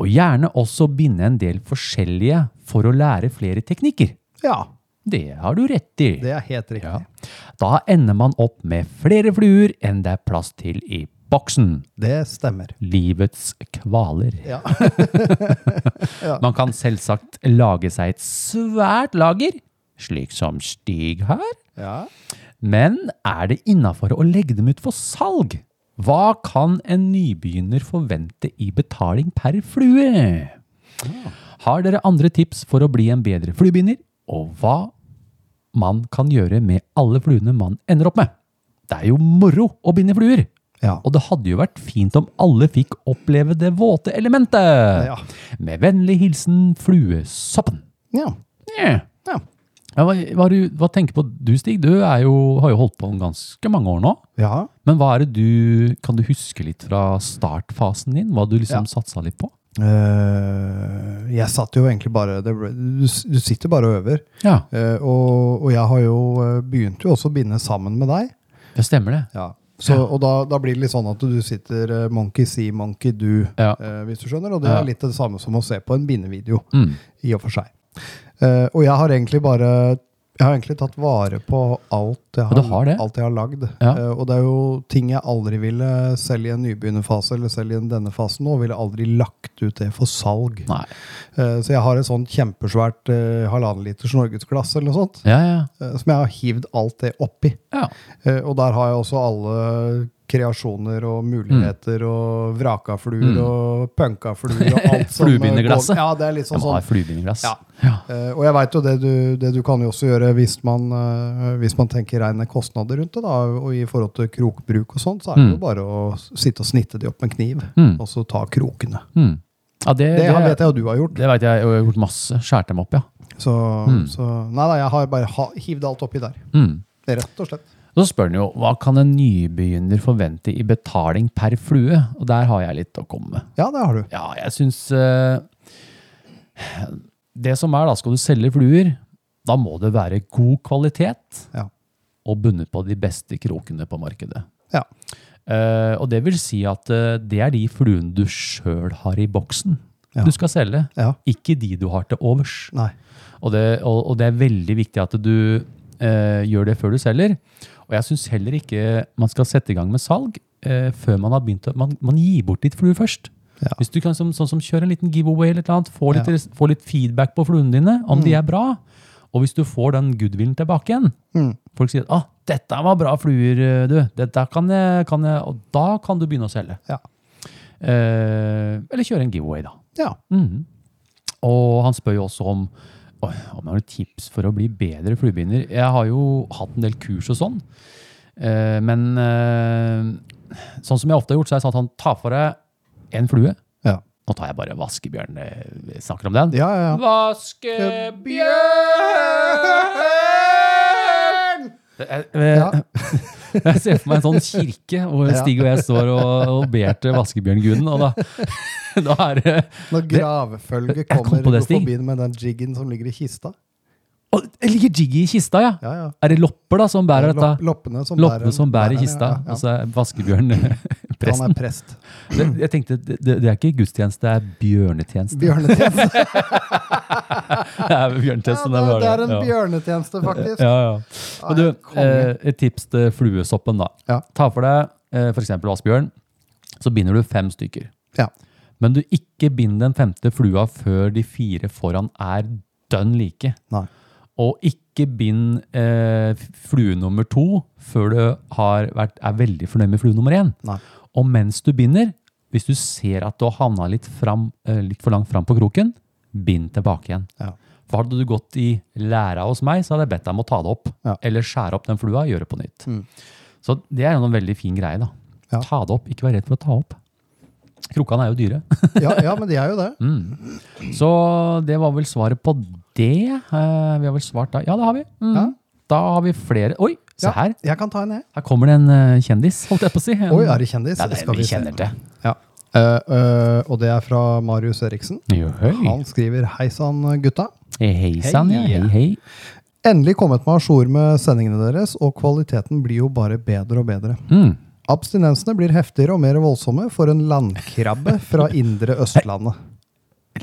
Speaker 2: Og gjerne også binde en del forskjellige for å lære flere teknikker.
Speaker 6: ja.
Speaker 2: Det har du rett i.
Speaker 6: Det er helt riktig.
Speaker 2: Da ender man opp med flere fluer enn det er plass til i boksen.
Speaker 6: Det stemmer.
Speaker 2: Livets kvaler.
Speaker 6: Ja.
Speaker 2: Man kan selvsagt lage seg et svært lager, slik som Stig her.
Speaker 6: Ja.
Speaker 2: Men er det innafor å legge dem ut for salg? Hva kan en nybegynner forvente i betaling per flue? Har dere andre tips for å bli en bedre fluebinder, og hva man kan gjøre med alle fluene man ender opp med? Det er jo moro å binde fluer,
Speaker 6: Ja.
Speaker 2: og det hadde jo vært fint om alle fikk oppleve det våte elementet.
Speaker 6: Ja.
Speaker 2: Med vennlig hilsen fluesoppen.
Speaker 6: ja.
Speaker 2: Yeah.
Speaker 6: Ja.
Speaker 2: Ja, hva, hva, er du- hva tenker på du, Stig? Du er jo, har jo holdt på ganske mange år nå.
Speaker 6: ja.
Speaker 2: Men hva er det du, kan du huske litt fra startfasen din? Hva du liksom satsa litt på?
Speaker 6: Eh, jeg satt jo egentlig bare det, ble- du, s- du sitter bare og øver.
Speaker 2: Ja,
Speaker 6: Eh, og, og jeg har jo eh, begynt jo også å binde sammen med deg.
Speaker 2: det stemmer det.
Speaker 6: Så, og da, da blir det litt sånn at du sitter eh, monkey see, monkey do,
Speaker 2: Ja.
Speaker 6: eh, hvis du skjønner. Og det
Speaker 2: Ja.
Speaker 6: er litt det samme som å se på en bindevideo,
Speaker 2: Mm.
Speaker 6: i og for seg. Eh, og jeg har egentlig bare Jeg har egentlig tatt vare på alt jeg
Speaker 2: Ja,
Speaker 6: har,
Speaker 2: du har det?
Speaker 6: alt jeg har lagd.
Speaker 2: Ja.
Speaker 6: Eh, og det er jo ting jeg aldri ville, selv i en nybegynnerfase eller selv i denne fasen nå, ville jeg aldri lagt ut det for salg.
Speaker 2: Nei.
Speaker 6: Eh, så jeg har et sånt kjempesvært eh, halvannen liters norgesglass eller noe sånt,
Speaker 2: Ja, ja.
Speaker 6: eh, som jeg har hivd alt det oppi.
Speaker 2: ja.
Speaker 6: Eh, og der har jeg også alle kreasjoner og muligheter
Speaker 2: Mm.
Speaker 6: og vrakafluer og punkafluer og alt som eh, går-
Speaker 2: Fluebinderglasset.
Speaker 6: Ja, det er litt
Speaker 2: Jeg
Speaker 6: sånn
Speaker 2: må ha
Speaker 6: sånn
Speaker 2: et fluebindeglass.
Speaker 6: Ja. Eh, og jeg veit jo det du, det du kan jo også gjøre hvis man, eh, hvis man tenker reine kostnader rundt det, da, og i forhold til krokbruk og sånt, så er det
Speaker 2: Mm.
Speaker 6: jo bare å s- sitte og snitte de opp med en kniv, og så ta krokene.
Speaker 2: Hmm. ja Mm. det,
Speaker 6: Det, har- vet jeg jo du har gjort.
Speaker 2: Det vet jeg, og jeg har gjort masse. Skjært dem opp, ja.
Speaker 6: Så,
Speaker 2: Mm.
Speaker 6: så nei da, jeg har bare ha, hivd alt oppi der.
Speaker 2: Hmm.
Speaker 6: Rett og slett.
Speaker 2: Så spør han jo hva kan en nybegynner forvente i betaling per flue? Og der har jeg litt å komme med.
Speaker 6: Ja, det har du.
Speaker 2: Ja, jeg syns eh, Det som er, da, skal du selge fluer, da må det være god kvalitet
Speaker 6: Ja.
Speaker 2: og bundet på de beste krokene på markedet.
Speaker 6: Ja.
Speaker 2: Eh, og det vil si at eh, det er de fluene du sjøl har i boksen
Speaker 6: Ja.
Speaker 2: du skal selge,
Speaker 6: Ja.
Speaker 2: ikke de du har til overs.
Speaker 6: Nei.
Speaker 2: Og det, og, og det er veldig viktig at du eh, gjør det før du selger. Og jeg syns heller ikke man skal sette i gang med salg eh, før man har begynt å man, man gir bort litt flue først.
Speaker 6: Ja.
Speaker 2: Hvis du kan som, sånn som kjøre en liten giveaway eller et eller annet, få litt,
Speaker 6: Ja.
Speaker 2: res- få litt feedback på fluene dine, om de er bra. Og hvis du får den goodwillen tilbake igjen,
Speaker 6: Mm.
Speaker 2: folk sier at ah, 'dette var bra fluer, eh, du', dette kan jeg, kan jeg, og da kan du begynne å selge.
Speaker 6: Ja.
Speaker 2: Eh, eller kjøre en giveaway, da.
Speaker 6: Ja.
Speaker 2: Mhm. Og han spør jo også om «Oi, om jeg har noen tips for å bli bedre fluebinder. Jeg har jo hatt en del kurs og sånn, Eh, men eh, sånn som jeg ofte har gjort, så er det sånn at han tar for deg en flue.
Speaker 6: Ja.
Speaker 2: Nå tar jeg bare vaskebjørn, eh, vi snakker om den.
Speaker 6: Ja, ja, ja.
Speaker 2: Vaskebjørn! Jeg,
Speaker 6: Ja.
Speaker 2: Eh, jeg ser for meg en sånn kirke hvor
Speaker 6: Ja.
Speaker 2: Stig og jeg står og, og ber til vaskebjørnguden, og da, da er det
Speaker 6: Når gravfølget
Speaker 2: kom
Speaker 6: kommer
Speaker 2: på det, Stig.
Speaker 6: forbi med den jiggen som ligger i kista.
Speaker 2: Å, det ligger jiggy i kista, ja.
Speaker 6: Ja, ja.
Speaker 2: Er det lopper da som bærer
Speaker 6: Lopp-
Speaker 2: dette?
Speaker 6: Loppene som
Speaker 2: Loppene
Speaker 6: bærer,
Speaker 2: som bærer
Speaker 6: bærer,
Speaker 2: kista,
Speaker 6: ja, ja.
Speaker 2: og så er vaskebjørn
Speaker 6: Han
Speaker 2: presten.
Speaker 6: er prest.
Speaker 2: Det, jeg tenkte, det, det er ikke gudstjeneste, det er bjørnetjeneste.
Speaker 6: Bjørnetjeneste.
Speaker 2: Det er bjørnetjeneste,
Speaker 6: Ja, det,
Speaker 2: bare-
Speaker 6: det er en
Speaker 2: ja.
Speaker 6: bjørnetjeneste, faktisk.
Speaker 2: Ja, ja. Men du, eh,
Speaker 6: konge.
Speaker 2: et tips til fluesoppen da.
Speaker 6: Ja.
Speaker 2: Ta for deg eh, for eksempel vaskebjørn, så binder du fem stykker.
Speaker 6: Ja.
Speaker 2: Men du ikke bind den femte flua før de fire foran er dønn like.
Speaker 6: Nei.
Speaker 2: Og ikke bind eh, flue nummer to før du har vært, er veldig fornøyd med flue nummer én.
Speaker 6: Nei.
Speaker 2: Og mens du binder, hvis du ser at du har havna litt, fram, eh, litt for langt fram på kroken, bind tilbake igjen.
Speaker 6: Ja.
Speaker 2: For hadde du gått i læra hos meg, så hadde jeg bedt deg om å ta det opp.
Speaker 6: Ja. Mm.
Speaker 2: Eller skjære opp den flua og gjøre det på nytt. Så det er jo en veldig fin greie, da.
Speaker 6: Ja.
Speaker 2: Ta det opp. Ikke vær redd for å ta opp. Krokene er jo dyre.
Speaker 6: Ja, ja, men de er jo det.
Speaker 2: Mm. Så det var vel svaret på det. Eh, vi har vel svart da. Ja, det har vi. Mm.
Speaker 6: Ja.
Speaker 2: Da har vi flere Oi, se
Speaker 6: Ja,
Speaker 2: her.
Speaker 6: Jeg kan ta en, jeg.
Speaker 2: Her kommer det en eh, kjendis, holdt jeg på å si. En-
Speaker 6: Oi, er det kjendis?
Speaker 2: Ja, det er
Speaker 6: Skal
Speaker 2: en vi
Speaker 6: se.
Speaker 2: kjenner til.
Speaker 6: Ja. Eh, eh, og det er fra Marius Eriksen.
Speaker 2: Jo, Hei
Speaker 6: Han skriver 'Hei sann, gutta'.
Speaker 2: Hei sann, ja. Hei, hei.
Speaker 6: Endelig kommet meg à jour med sendingene deres, og kvaliteten blir jo bare bedre og bedre.
Speaker 2: Mm.
Speaker 6: Abstinensene blir heftigere og mer voldsomme for en landkrabbe fra indre Østlandet.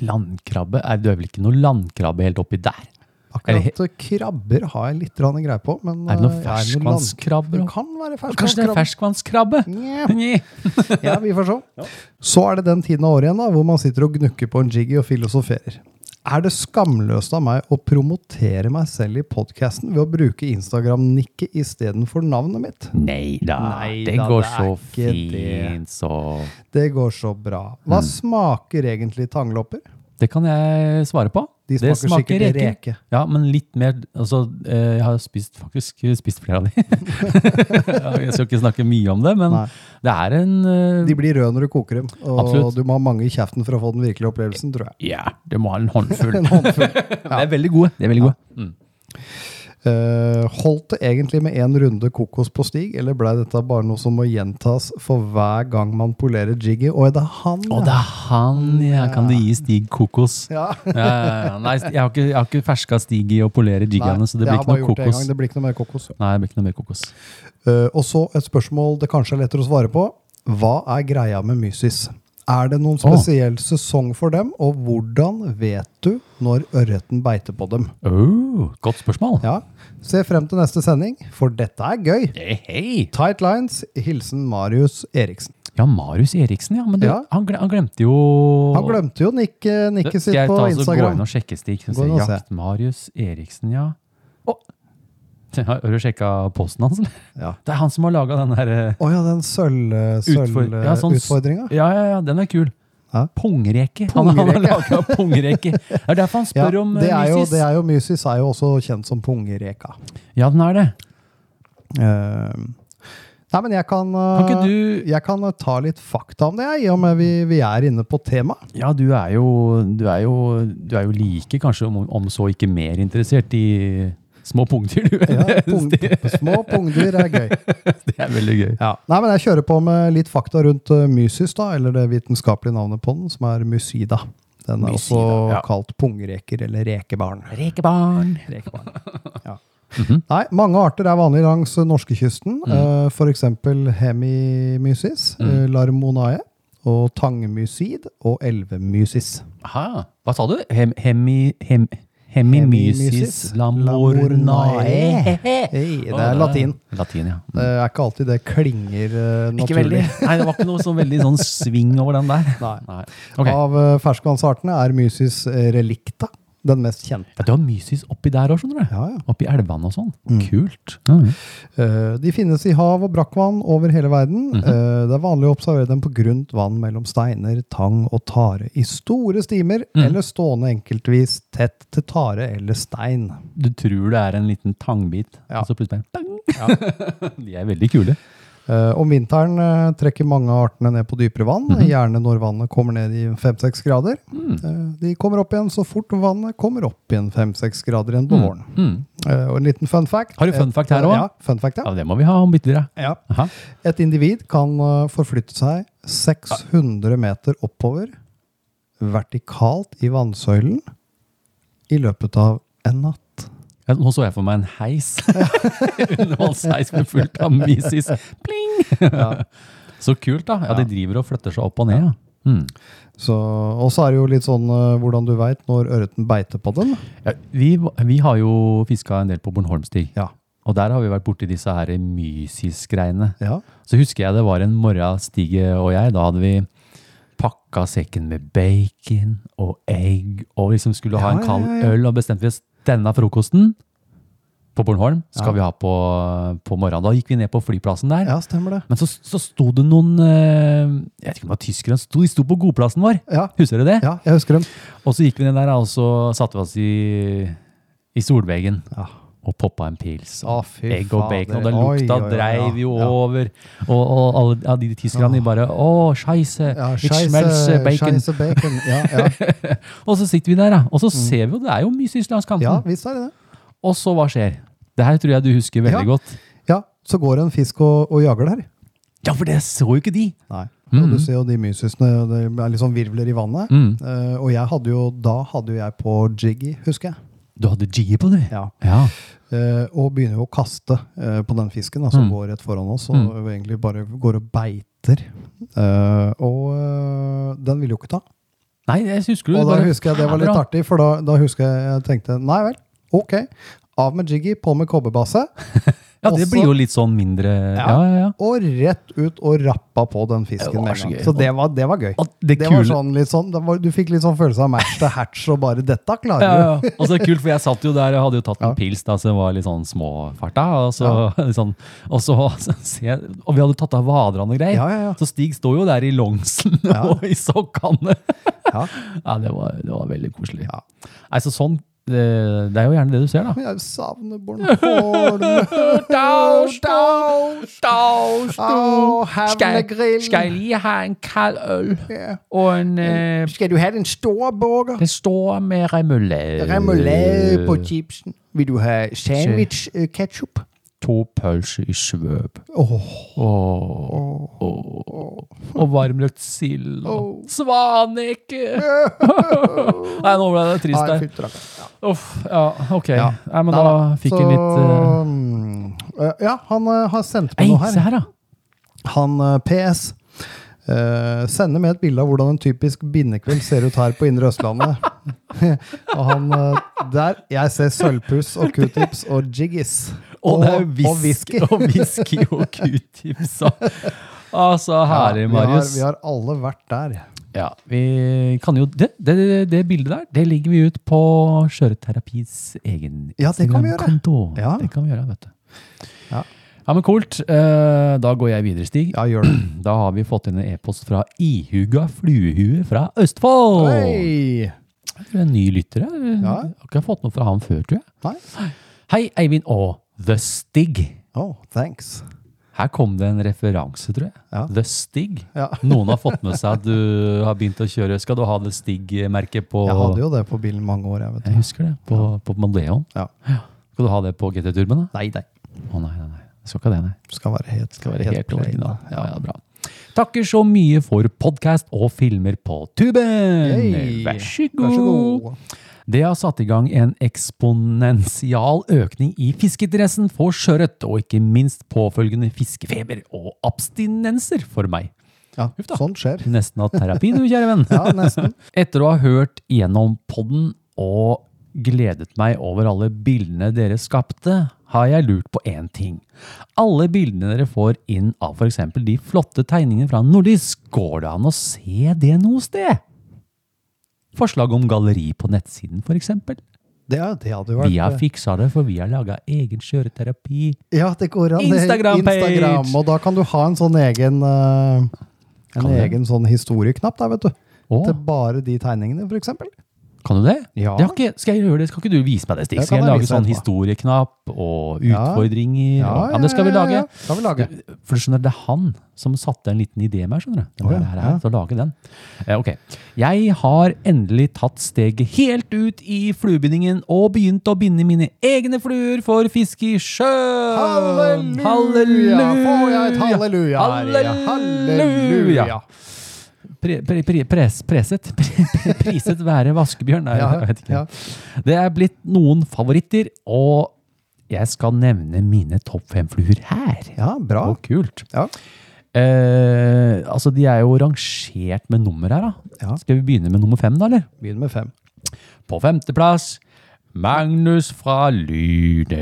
Speaker 2: Landkrabbe? Er du er vel ikke noe landkrabbe helt oppi der? Er det
Speaker 6: Akkurat eh, krabber har jeg litt grann greie på. Men
Speaker 2: Er det noen
Speaker 6: eh, jeg er noen
Speaker 2: ferskvannskrabber
Speaker 6: land-
Speaker 2: også?
Speaker 6: Det kan være
Speaker 2: Kanskje det er
Speaker 6: ferskvannskrabber.
Speaker 2: ferskvannskrabbe?
Speaker 6: Nja.
Speaker 2: Nja.
Speaker 6: Ja, vi får se. Så er det den tiden av året igjen da, hvor man sitter og gnukker på en jiggy og filosoferer. Er det skamløst av meg å promotere meg selv i podkasten ved å bruke Instagram-nikket istedenfor navnet mitt?
Speaker 2: Nei da,
Speaker 6: Nei
Speaker 2: det
Speaker 6: da,
Speaker 2: går
Speaker 6: det er
Speaker 2: så
Speaker 6: ikke
Speaker 2: fint, så
Speaker 6: Det går så bra. Hva
Speaker 2: Mm.
Speaker 6: smaker egentlig tanglopper?
Speaker 2: Det kan jeg svare på.
Speaker 6: De
Speaker 2: Det
Speaker 6: smaker sikkert reke.
Speaker 2: Ja, men litt mer altså, eh, Jeg har spist, faktisk spist flere av de. Ja, jeg skal ikke snakke mye om det, men
Speaker 6: Nei.
Speaker 2: det er en eh,
Speaker 6: De blir røde når du koker dem, og
Speaker 2: Absolutt.
Speaker 6: du må ha mange i kjeften for å få den virkelige opplevelsen, tror jeg.
Speaker 2: Ja, det må ha en håndfull. De er veldig gode. De er veldig gode. Mm.
Speaker 6: Eh, holdt det egentlig med én runde kokos på stig, eller blei dette bare noe som må gjentas for hver gang man polerer jiggy? Oi, det er han,
Speaker 2: Og det er han, ja! Kan du gi Stig kokos?
Speaker 6: Ja.
Speaker 2: Ja, ja, ja. Nei, jeg har ikke, jeg har ikke ferska Stig i å polere
Speaker 6: Nei,
Speaker 2: jiggene, så det blir
Speaker 6: jeg har
Speaker 2: ikke noe
Speaker 6: bare gjort det en
Speaker 2: kokos.
Speaker 6: gang, Det blir ikke noe mer kokos.
Speaker 2: Nei, det blir ikke noe mer kokos.
Speaker 6: Eh, og så et spørsmål det kanskje er lettere å svare på. Hva er greia med mysis? Er det noen spesiell sesong for dem, og hvordan vet du når ørreten beiter på dem?
Speaker 2: Oh, godt spørsmål.
Speaker 6: Ja, Se frem til neste sending, for dette er gøy!
Speaker 2: Hei, hei.
Speaker 6: Tight lines. Hilsen Marius Eriksen.
Speaker 2: Ja, Marius Eriksen, ja. Men du,
Speaker 6: Ja.
Speaker 2: Han, gle- han glemte jo
Speaker 6: Han glemte jo nikke- nikket
Speaker 2: Det-
Speaker 6: sitt
Speaker 2: Skal
Speaker 6: på
Speaker 2: jeg ta, altså, gå inn
Speaker 6: Instagram.
Speaker 2: og sjekke, Stig? Skal
Speaker 6: Gå
Speaker 2: vi
Speaker 6: inn og
Speaker 2: se.
Speaker 6: se.
Speaker 2: Jakt Marius Eriksen, ja. Å! Har har du sjekka posten hans, eller?
Speaker 6: Ja.
Speaker 2: Det er han som har laga den derre
Speaker 6: Å ja, den
Speaker 2: Utfor- ja, sånn s-
Speaker 6: sølvutfordringa?
Speaker 2: ja, ja, ja, den er kul.
Speaker 6: eh, Ja.
Speaker 2: Pongreke. Han har
Speaker 6: Pungreke.
Speaker 2: laga pongreke. Det er derfor han
Speaker 6: Ja,
Speaker 2: spør om eh,
Speaker 6: det er jo,
Speaker 2: Lysis.
Speaker 6: det er jo Mysis er jo også kjent som pungereka.
Speaker 2: Ja, den er det.
Speaker 6: Eh, nei, men jeg kan, eh,
Speaker 2: Kan ikke du
Speaker 6: jeg kan eh, ta litt fakta om det, jeg, i og med vi, vi er inne på temaet.
Speaker 2: Ja, du er jo, du er jo, du er jo like, kanskje, om, om så ikke mer interessert i små pungdyr, du.
Speaker 6: Ja, pung, små pungdyr er gøy.
Speaker 2: Det er veldig gøy.
Speaker 6: Ja. Nei, men Jeg kjører på med litt fakta rundt eh, mysis, da, eller det vitenskapelige navnet på den, som er mysida. Den er
Speaker 2: Mycida,
Speaker 6: også
Speaker 2: ja.
Speaker 6: kalt pungreker eller rekebarn.
Speaker 2: Rekebarn. Mhm.
Speaker 6: Nei, mange arter er vanlig langs eh, norskekysten.
Speaker 2: Mm.
Speaker 6: eh, For eksempel hemimysis, eh, larmonae, og tangmysid og elvemysis.
Speaker 2: Aha. Hva sa du? Hem, hemi, hem, hemimysis
Speaker 6: Hemimysis
Speaker 2: lamornae.
Speaker 6: lamornae. Hei, det er latin.
Speaker 2: Latin, ja.
Speaker 6: Det er ikke alltid det klinger eh,
Speaker 2: Ikke
Speaker 6: naturlig.
Speaker 2: veldig. Nei, det var ikke noe sånn veldig sånn sving over den der.
Speaker 6: Nei.
Speaker 2: Ok.
Speaker 6: Av eh, ferskvannsartene er mysis eh, relicta den mest kjente.
Speaker 2: Ja, du har mysis oppi der òg, skjønner du.
Speaker 6: Ja, Mm. ja.
Speaker 2: Oppi elvene og sånn. Kult. Ja, ja.
Speaker 6: Eh, De finnes i hav og brakkvann over hele verden. Eh, Det er vanlig å observere dem på grunt vann mellom steiner, tang og tare i store stimer, eller stående enkeltvis tett til tare eller stein.
Speaker 2: Du tror det er en liten tangbit,
Speaker 6: Ja.
Speaker 2: og så plutselig bare bang! De er veldig kule.
Speaker 6: Eh, Om vinteren eh, trekker mange av artene ned på dypere vann,
Speaker 2: Mhm.
Speaker 6: gjerne når vannet kommer ned i 5-6 grader.
Speaker 2: Mm.
Speaker 6: Eh, De kommer opp igjen så fort vannet kommer opp igjen 5-6 grader igjen på våren. Eh, Og en liten fun fact.
Speaker 2: Mm. Har du fun
Speaker 6: Eh,
Speaker 2: fact her også?
Speaker 6: Ja, fun fact,
Speaker 2: Ja,
Speaker 6: ja.
Speaker 2: det må vi ha om byttedyra.
Speaker 6: ja.
Speaker 2: Aha.
Speaker 6: Et individ kan eh, forflytte seg 600 meter oppover, vertikalt i vannsøylen, i løpet av en natt.
Speaker 2: Ja, Nå så jeg for meg en heis. Undervannsheis med fullt av mysis. Pling! Så kult, da. Ja, De driver og flytter seg opp og ned. Ja. Mm.
Speaker 6: Så, og så er det jo litt sånn eh, hvordan du veit når ørreten beiter på den.
Speaker 2: Ja, vi, vi har jo fiska en del på Bornholmstig.
Speaker 6: Ja.
Speaker 2: Og der har vi vært borti disse her mysis-greiene.
Speaker 6: Ja.
Speaker 2: Så husker jeg det var en morgen Stige og jeg, da hadde vi pakka sekken med bacon og egg, og liksom skulle ha
Speaker 6: Ja,
Speaker 2: en
Speaker 6: ja,
Speaker 2: kald
Speaker 6: ja, ja.
Speaker 2: øl, og bestemte vi oss denne frokosten på Bornholm skal vi ha på, på morgenen. Da gikk vi ned på flyplassen der,
Speaker 6: ja, stemmer det.
Speaker 2: men så, så sto det noen, eh, jeg vet ikke om det var tyskere, sto, de sto på godplassen vår.
Speaker 6: Ja,
Speaker 2: Husker dere det?
Speaker 6: ja jeg husker dem.
Speaker 2: Og så gikk vi ned der, og så satte vi oss i, i solveggen.
Speaker 6: Ja.
Speaker 2: Og poppa en pils.
Speaker 6: Å, fy
Speaker 2: egg og
Speaker 6: fader.
Speaker 2: bacon. Og det
Speaker 6: Oi,
Speaker 2: lukta
Speaker 6: oi, oi,
Speaker 2: dreiv jo
Speaker 6: ja, ja.
Speaker 2: over. Og, og alle ja, de tyskerne de bare Å, scheisse!
Speaker 6: Ja,
Speaker 2: it smells eh, bacon.
Speaker 6: scheisse bacon. Ja, ja.
Speaker 2: Og så sitter vi der, da. Og så ser vi jo det er jo mye langs kanten.
Speaker 6: ja, visst er det det.
Speaker 2: Og så hva skjer? Det her tror jeg du husker veldig
Speaker 6: Ja.
Speaker 2: godt.
Speaker 6: Ja, så går det en fisk og, og jager der.
Speaker 2: Ja, for det så jo ikke de!
Speaker 6: Nei.
Speaker 2: Mm.
Speaker 6: Og du ser jo de mysisene, og det er liksom virvler i vannet. Eh, og jeg hadde jo, da hadde jo jeg på jiggy, husker jeg.
Speaker 2: Du hadde G på, du.
Speaker 6: Ja.
Speaker 2: ja.
Speaker 6: Eh, og begynner jo å kaste eh, på den fisken da,
Speaker 2: Mm.
Speaker 6: som går rett foran oss, og egentlig bare går og beiter. Eh, og eh, den ville jo ikke ta.
Speaker 2: Nei, jeg husker du
Speaker 6: Og da
Speaker 2: bare-
Speaker 6: husker jeg det var litt
Speaker 2: Bra.
Speaker 6: artig, for da, da husker jeg jeg tenkte nei vel, ok. Av med jiggy, på med kobberbase,
Speaker 2: Ja, det
Speaker 6: Også-
Speaker 2: blir jo litt sånn mindre Ja,
Speaker 6: Ja.
Speaker 2: ja, ja.
Speaker 6: og rett ut og rappa på den fisken.
Speaker 2: Det var
Speaker 6: med en
Speaker 2: så
Speaker 6: gang.
Speaker 2: gøy.
Speaker 6: Så det var, det var gøy.
Speaker 2: Og det
Speaker 6: Det
Speaker 2: kule-
Speaker 6: var sånn, litt sånn, det var, du fikk litt sånn følelse av match til hatch og bare 'dette klarer
Speaker 2: Ja,
Speaker 6: du'.
Speaker 2: ja. ja. Og så er det kult, for jeg satt jo der og hadde jo tatt en pils da, som var litt sånn småfarta. Og så, sånn, og så, så ser jeg, og vi hadde tatt av vaderne og greier.
Speaker 6: Ja, ja, ja.
Speaker 2: Så Stig står jo der i longsen og i sokkene.
Speaker 6: Ja.
Speaker 2: Ja, det var, det var veldig koselig.
Speaker 6: Ja.
Speaker 2: Nei, så sånn, det, det er jo gjerne det du ser da.
Speaker 6: Jeg savner Bornholm.
Speaker 2: Stau, stau, stau,
Speaker 6: Au, havnegrillen.
Speaker 2: lige ha en kald øl
Speaker 6: Ja.
Speaker 2: og en, øh,
Speaker 6: Skal du ha den store burger?
Speaker 2: det store med remoulade.
Speaker 6: Remoulade
Speaker 2: Øh.
Speaker 6: på chipsen. Vil du ha sandwich eh, ketchup?
Speaker 2: to pølser i svøp.
Speaker 6: Åh,
Speaker 2: Åh. Og varmrøkt sild. Og svanekke! Nei, nå ble det trist
Speaker 6: nei,
Speaker 2: der.
Speaker 6: fytti rakkeren.
Speaker 2: Uff, ja, ok.
Speaker 6: Ja.
Speaker 2: Nei, men da fikk vi litt eh,
Speaker 6: litt mm, Ja, han eh, har sendt
Speaker 2: Ei,
Speaker 6: meg
Speaker 2: se
Speaker 6: noe her.
Speaker 2: her, da!
Speaker 6: Han eh, PS. Eh, sende med et bilde av hvordan en typisk bindekveld ser ut her på Indre Østlandet. og han eh, der Jeg ser sølvpuss og q-tips og jiggis.
Speaker 2: Og det er
Speaker 6: og whisky.
Speaker 2: whisky. Og whisky og q-tips. og- Altså, herlig,
Speaker 6: Ja, vi har-
Speaker 2: Marius.
Speaker 6: Vi har alle vært der.
Speaker 2: Ja, vi kan jo det, det, det, det bildet der, det legger vi ut på Skjøreterapis egen
Speaker 6: Ja, det kan vi gjøre.
Speaker 2: Instagram-konto.
Speaker 6: Ja.
Speaker 2: Det kan vi gjøre, vet du.
Speaker 6: Ja.
Speaker 2: Ja, men kult. Eh, Da går jeg videre, Stig.
Speaker 6: Ja, gjør det.
Speaker 2: Da har vi fått inn en e-post fra ihuga fluehue fra Østfold.
Speaker 6: Hei!
Speaker 2: Det er En ny lytter her.
Speaker 6: Ja.
Speaker 2: Har ikke fått noe fra han før, tror jeg.
Speaker 6: Nei.
Speaker 2: Hei, Eivind og The Stig.
Speaker 6: Oh, thanks.
Speaker 2: Her kom det en referanse, tror jeg.
Speaker 6: Ja.
Speaker 2: The Stig.
Speaker 6: Ja.
Speaker 2: Noen har fått med seg at du har begynt å kjøre. Skal du ha The Stig-merket på
Speaker 6: Jeg hadde jo det på bilen mange år, jeg, vet
Speaker 2: Jeg
Speaker 6: du.
Speaker 2: husker det, på, på Maleon.
Speaker 6: Ja.
Speaker 2: Skal du ha det på GT-turben? da?
Speaker 6: Nei, nei.
Speaker 2: Å nei, nei, nei. Jeg skal ikke ha det, nei.
Speaker 6: Skal være helt, skal
Speaker 2: Bare helt original. Ja, ja, bra. Takker så mye for podkast og filmer på tuben!
Speaker 6: Hei!
Speaker 2: Vær så god!
Speaker 6: Vær så god.
Speaker 2: Det har satt i gang en eksponential økning i fiskeinteressen for sjøørret, og ikke minst påfølgende fiskefeber og abstinenser for meg.
Speaker 6: Ja,
Speaker 2: Huff da.
Speaker 6: sånt skjer.
Speaker 2: Nesten av terapi, du, kjære venn.
Speaker 6: Ja, nesten.
Speaker 2: Etter å ha hørt gjennom podden og gledet meg over alle bildene dere skapte, har jeg lurt på én ting. Alle bildene dere får inn av f.eks. de flotte tegningene fra Nordisk, går det an å se det noe sted? Forslag om galleri på nettsiden, f.eks.
Speaker 6: Det, er- det hadde jo vært eh,
Speaker 2: Vi har fiksa det, for vi har laga egen kjøreterapi.
Speaker 6: Ja, det går an. Det-
Speaker 2: Instagram-page.
Speaker 6: Instagram, og da kan du ha en sånn egen eh, En
Speaker 2: Kan det?
Speaker 6: egen sånn historieknapp der, vet du.
Speaker 2: Å.
Speaker 6: Til bare de tegningene, for eksempel.
Speaker 2: Kan du det?
Speaker 6: Ja.
Speaker 2: det har ikke, skal jeg gjøre det? Skal ikke du vise meg det, Stig?
Speaker 6: Det
Speaker 2: Skal
Speaker 6: kan
Speaker 2: jeg
Speaker 6: jeg
Speaker 2: lage
Speaker 6: vise
Speaker 2: sånn
Speaker 6: deg etterpå.
Speaker 2: historieknapp og
Speaker 6: Ja.
Speaker 2: utfordringer?
Speaker 6: Ja,
Speaker 2: og, ja det skal vi
Speaker 6: ja, ja,
Speaker 2: lage.
Speaker 6: ja. Skal vi lage.
Speaker 2: For du skjønner, det er han som satte en liten idé med, skjønner du. Det var
Speaker 6: Å ja,
Speaker 2: det her,
Speaker 6: ja.
Speaker 2: til å lage den. Eh, ok. Jeg har endelig tatt steget helt ut i fluebindingen og begynt å binde mine egne fluer for fiske i sjøen!
Speaker 6: Halleluja! Får jeg et halleluja her? Ja,
Speaker 2: Halleluja!
Speaker 6: halleluja.
Speaker 2: Pre, pre, pre, pres, preset? Pre, pre, priset være vaskebjørn? Nei,
Speaker 6: Ja,
Speaker 2: jeg vet ikke.
Speaker 6: ja.
Speaker 2: Det er blitt noen favoritter, og jeg skal nevne mine topp fem fluer her.
Speaker 6: Ja, bra.
Speaker 2: Og kult.
Speaker 6: Ja.
Speaker 2: Eh, altså, de er jo rangert med nummer her, da.
Speaker 6: Ja.
Speaker 2: Skal vi begynne med nummer fem, da, eller?
Speaker 6: Begynn med fem.
Speaker 2: På femteplass, Magnus fra Lynes.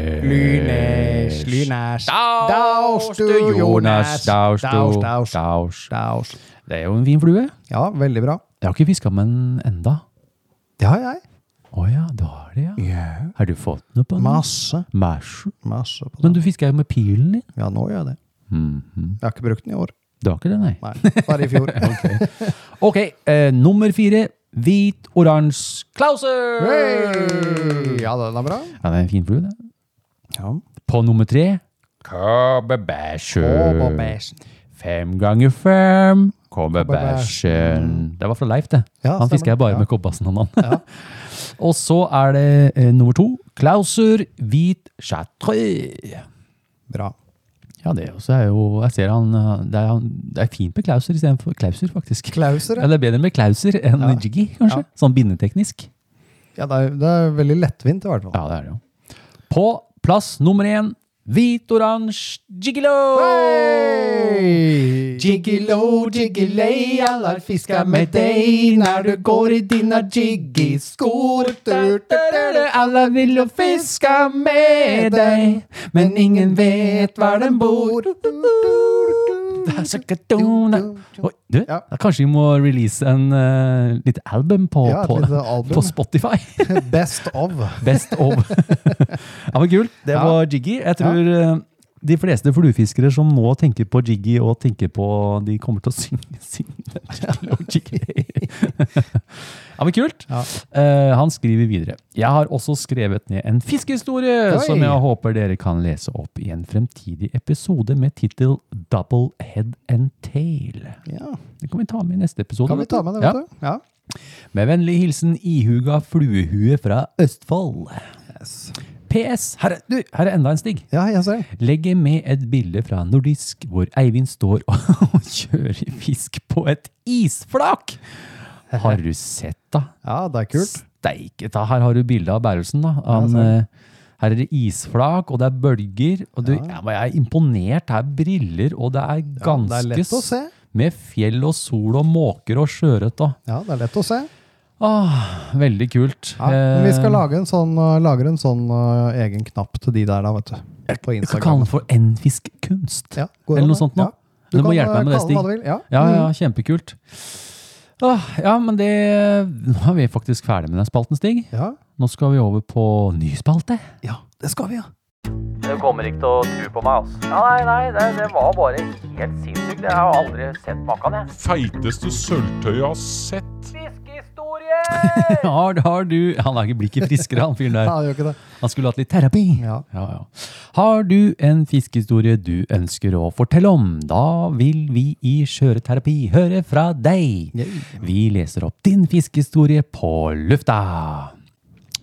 Speaker 6: Lynæsj.
Speaker 2: Daus du, Jonas. Daus du.
Speaker 6: Daus, daus,
Speaker 2: Daus.
Speaker 6: daus.
Speaker 2: Det er jo en fin flue.
Speaker 6: Ja, veldig bra.
Speaker 2: Jeg har ikke fiska med den enda.
Speaker 6: Det har jeg.
Speaker 2: Å ja, du har det, ja. Har du fått noe på den?
Speaker 6: Masse.
Speaker 2: Masse.
Speaker 6: Masse på det.
Speaker 2: Men du fisker jo med pilen din.
Speaker 6: Ja, nå gjør jeg det. Jeg har ikke brukt den i år.
Speaker 2: Du har ikke det, nei?
Speaker 6: Nei, bare i fjor.
Speaker 2: Mhm. Ok, eh, nummer fire. Hvit, oransje, Klauser!
Speaker 6: Hey! Ja, den er bra.
Speaker 2: Ja, det er en fin flue, det.
Speaker 6: Ja.
Speaker 2: På nummer tre Kobebæsjen. Fem ganger fem Kobebæsjen. Det var fra Leif, det.
Speaker 6: Ja,
Speaker 2: han
Speaker 6: stemmer.
Speaker 2: fisker jeg bare
Speaker 6: Ja.
Speaker 2: med kobbasen om han. Og så er det eh, nummer to. Klauser hvit chartreux.
Speaker 6: Bra.
Speaker 2: Ja, det også er jo Jeg ser han eh, Det er, han- det er fint med klauser istedenfor klauser, faktisk.
Speaker 6: Klauser,
Speaker 2: Ja,
Speaker 6: ja.
Speaker 2: det er bedre med klauser enn jiggy, kanskje. Sånn bindeteknisk.
Speaker 6: ja det, er, det er veldig lettvint i hvert fall.
Speaker 2: Ja, det er det jo. På plass nummer én, hvit-oransje jiggelo!
Speaker 6: Hey!
Speaker 2: Jiggelo, jiggilei, jeg lar fiska med deg når du går i dina jiggy-skor. Alle vil jo fiske med deg, men ingen vet hvor den bor. Det er så katona. Oi, du,
Speaker 6: Ja.
Speaker 2: kanskje vi må release en uh, litt album på,
Speaker 6: Ja, et
Speaker 2: på,
Speaker 6: lite album.
Speaker 2: på Spotify?
Speaker 6: Best of.
Speaker 2: Best of. ja, men kult. Det
Speaker 6: Ja.
Speaker 2: var Jiggy. Jeg tror eh, de fleste fluefiskere som nå tenker på Jiggy og tenker på De kommer til å synge, synge Jiggy og Jiggy. ja, men kult.
Speaker 6: Ja.
Speaker 2: Eh, han skriver videre. Jeg har også skrevet ned en fiskehistorie
Speaker 6: Oi.
Speaker 2: som jeg håper dere kan lese opp i en fremtidig episode med tittel Double Head and Tail.
Speaker 6: Ja.
Speaker 2: Det kan vi ta med i neste episode.
Speaker 6: Kan vi
Speaker 2: vet du.
Speaker 6: ta med det,
Speaker 2: Ja.
Speaker 6: vet du? Ja.
Speaker 2: Med vennlig hilsen ihuga fluehue fra Østfold. PS. Her er, du, her er enda en stig.
Speaker 6: ja, jeg ser.
Speaker 2: Legger med et bilde fra Nordisk hvor Eivind står og kjører fisk på et isflak. Har du sett, da?
Speaker 6: Ja, det er kult.
Speaker 2: Steike ta. Her har du bilde av bærelsen. da. Han, eh, her er det isflak, og det er bølger. og du, ja. men Jeg er imponert. Det er briller, og det er
Speaker 6: Ja,
Speaker 2: ganske
Speaker 6: det er lett å se.
Speaker 2: med fjell og sol og måker og sjøørret. og-
Speaker 6: Ja, det er lett å se.
Speaker 2: Ah, veldig kult.
Speaker 6: Ja, men vi skal
Speaker 2: Eh,
Speaker 6: lage en sånn, uh, lager en sånn uh, egen knapp til de der, da, vet du. På
Speaker 2: Vi skal kalle
Speaker 6: Instagram.
Speaker 2: den for N-fiskkunst.
Speaker 6: Ja, går
Speaker 2: Eller
Speaker 6: an,
Speaker 2: noe sånt nå.
Speaker 6: Ja. Du
Speaker 2: Du må
Speaker 6: kan,
Speaker 2: hjelpe meg
Speaker 6: uh,
Speaker 2: med det,
Speaker 6: kalle den
Speaker 2: Stig.
Speaker 6: hva du vil. Mm. Ja.
Speaker 2: Ja, ja, kjempekult. Ah, ja, men det Nå er vi faktisk ferdig med den spalten, Stig.
Speaker 6: Mm. Ja.
Speaker 2: Nå skal vi over på ny spalte.
Speaker 6: ja, det skal vi, ja.
Speaker 1: Du kommer ikke til å tro på meg, altså. Nei, nei, det, det var bare helt sinnssykt. Jeg har aldri sett maken, jeg.
Speaker 4: Feiteste sølvtøyet jeg har sett.
Speaker 3: Fiskehistorie!
Speaker 2: Har, har du Han er ikke blir ikke friskere, han fyren
Speaker 6: ja.
Speaker 2: der.
Speaker 6: det gjør ikke det.
Speaker 2: Han skulle hatt litt terapi.
Speaker 6: Ja.
Speaker 2: Ja, ja. Har du en fiskehistorie du ønsker å fortelle om? Da vil vi i Skjøreterapi høre fra deg. Vi leser opp din fiskehistorie på lufta.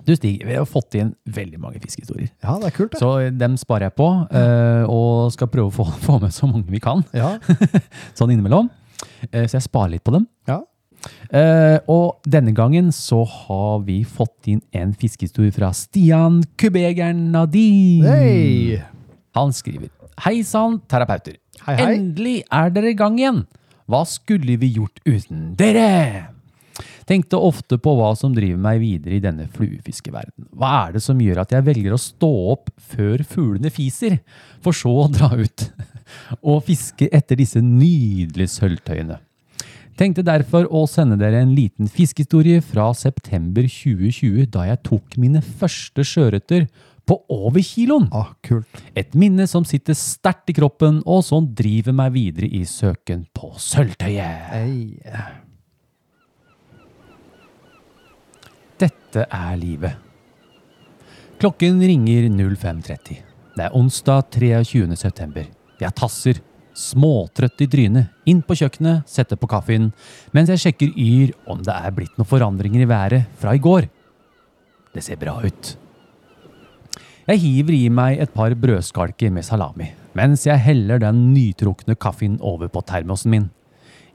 Speaker 2: Du Stig, vi har fått inn veldig mange fiskehistorier.
Speaker 6: ja, det er kult, det.
Speaker 2: Så dem sparer jeg på, eh, og skal prøve å få, få med så mange vi kan,
Speaker 6: Ja.
Speaker 2: sånn innimellom. Eh, Så jeg sparer litt på dem.
Speaker 6: ja.
Speaker 2: Eh, Og denne gangen så har vi fått inn en fiskehistorie fra Stian Kubegeren Nadin.
Speaker 6: Hei!
Speaker 2: Han skriver Hei sann, terapeuter.
Speaker 6: Hei, hei.
Speaker 2: Endelig er dere i gang igjen. Hva skulle vi gjort uten dere? Tenkte ofte på hva som driver meg videre i denne fluefiskeverdenen. Hva er det som gjør at jeg velger å stå opp før fuglene fiser, for så å dra ut og fiske etter disse nydelige sølvtøyene? Tenkte derfor å sende dere en liten fiskehistorie fra september 2020, da jeg tok mine første sjøørreter på over kiloen.
Speaker 6: Ah, kult.
Speaker 2: Et minne som sitter sterkt i kroppen, og som driver meg videre i søken på sølvtøyet.
Speaker 6: Hei.
Speaker 2: Dette er livet. Klokken ringer 05.30. Det er onsdag 23. september. Jeg tasser, småtrøtt i trynet, inn på kjøkkenet, setter på kaffen, mens jeg sjekker Yr om det er blitt noen forandringer i været fra i går. Det ser bra ut. Jeg hiver i meg et par brødskalker med salami, mens jeg heller den nytrukne kaffen over på termosen min.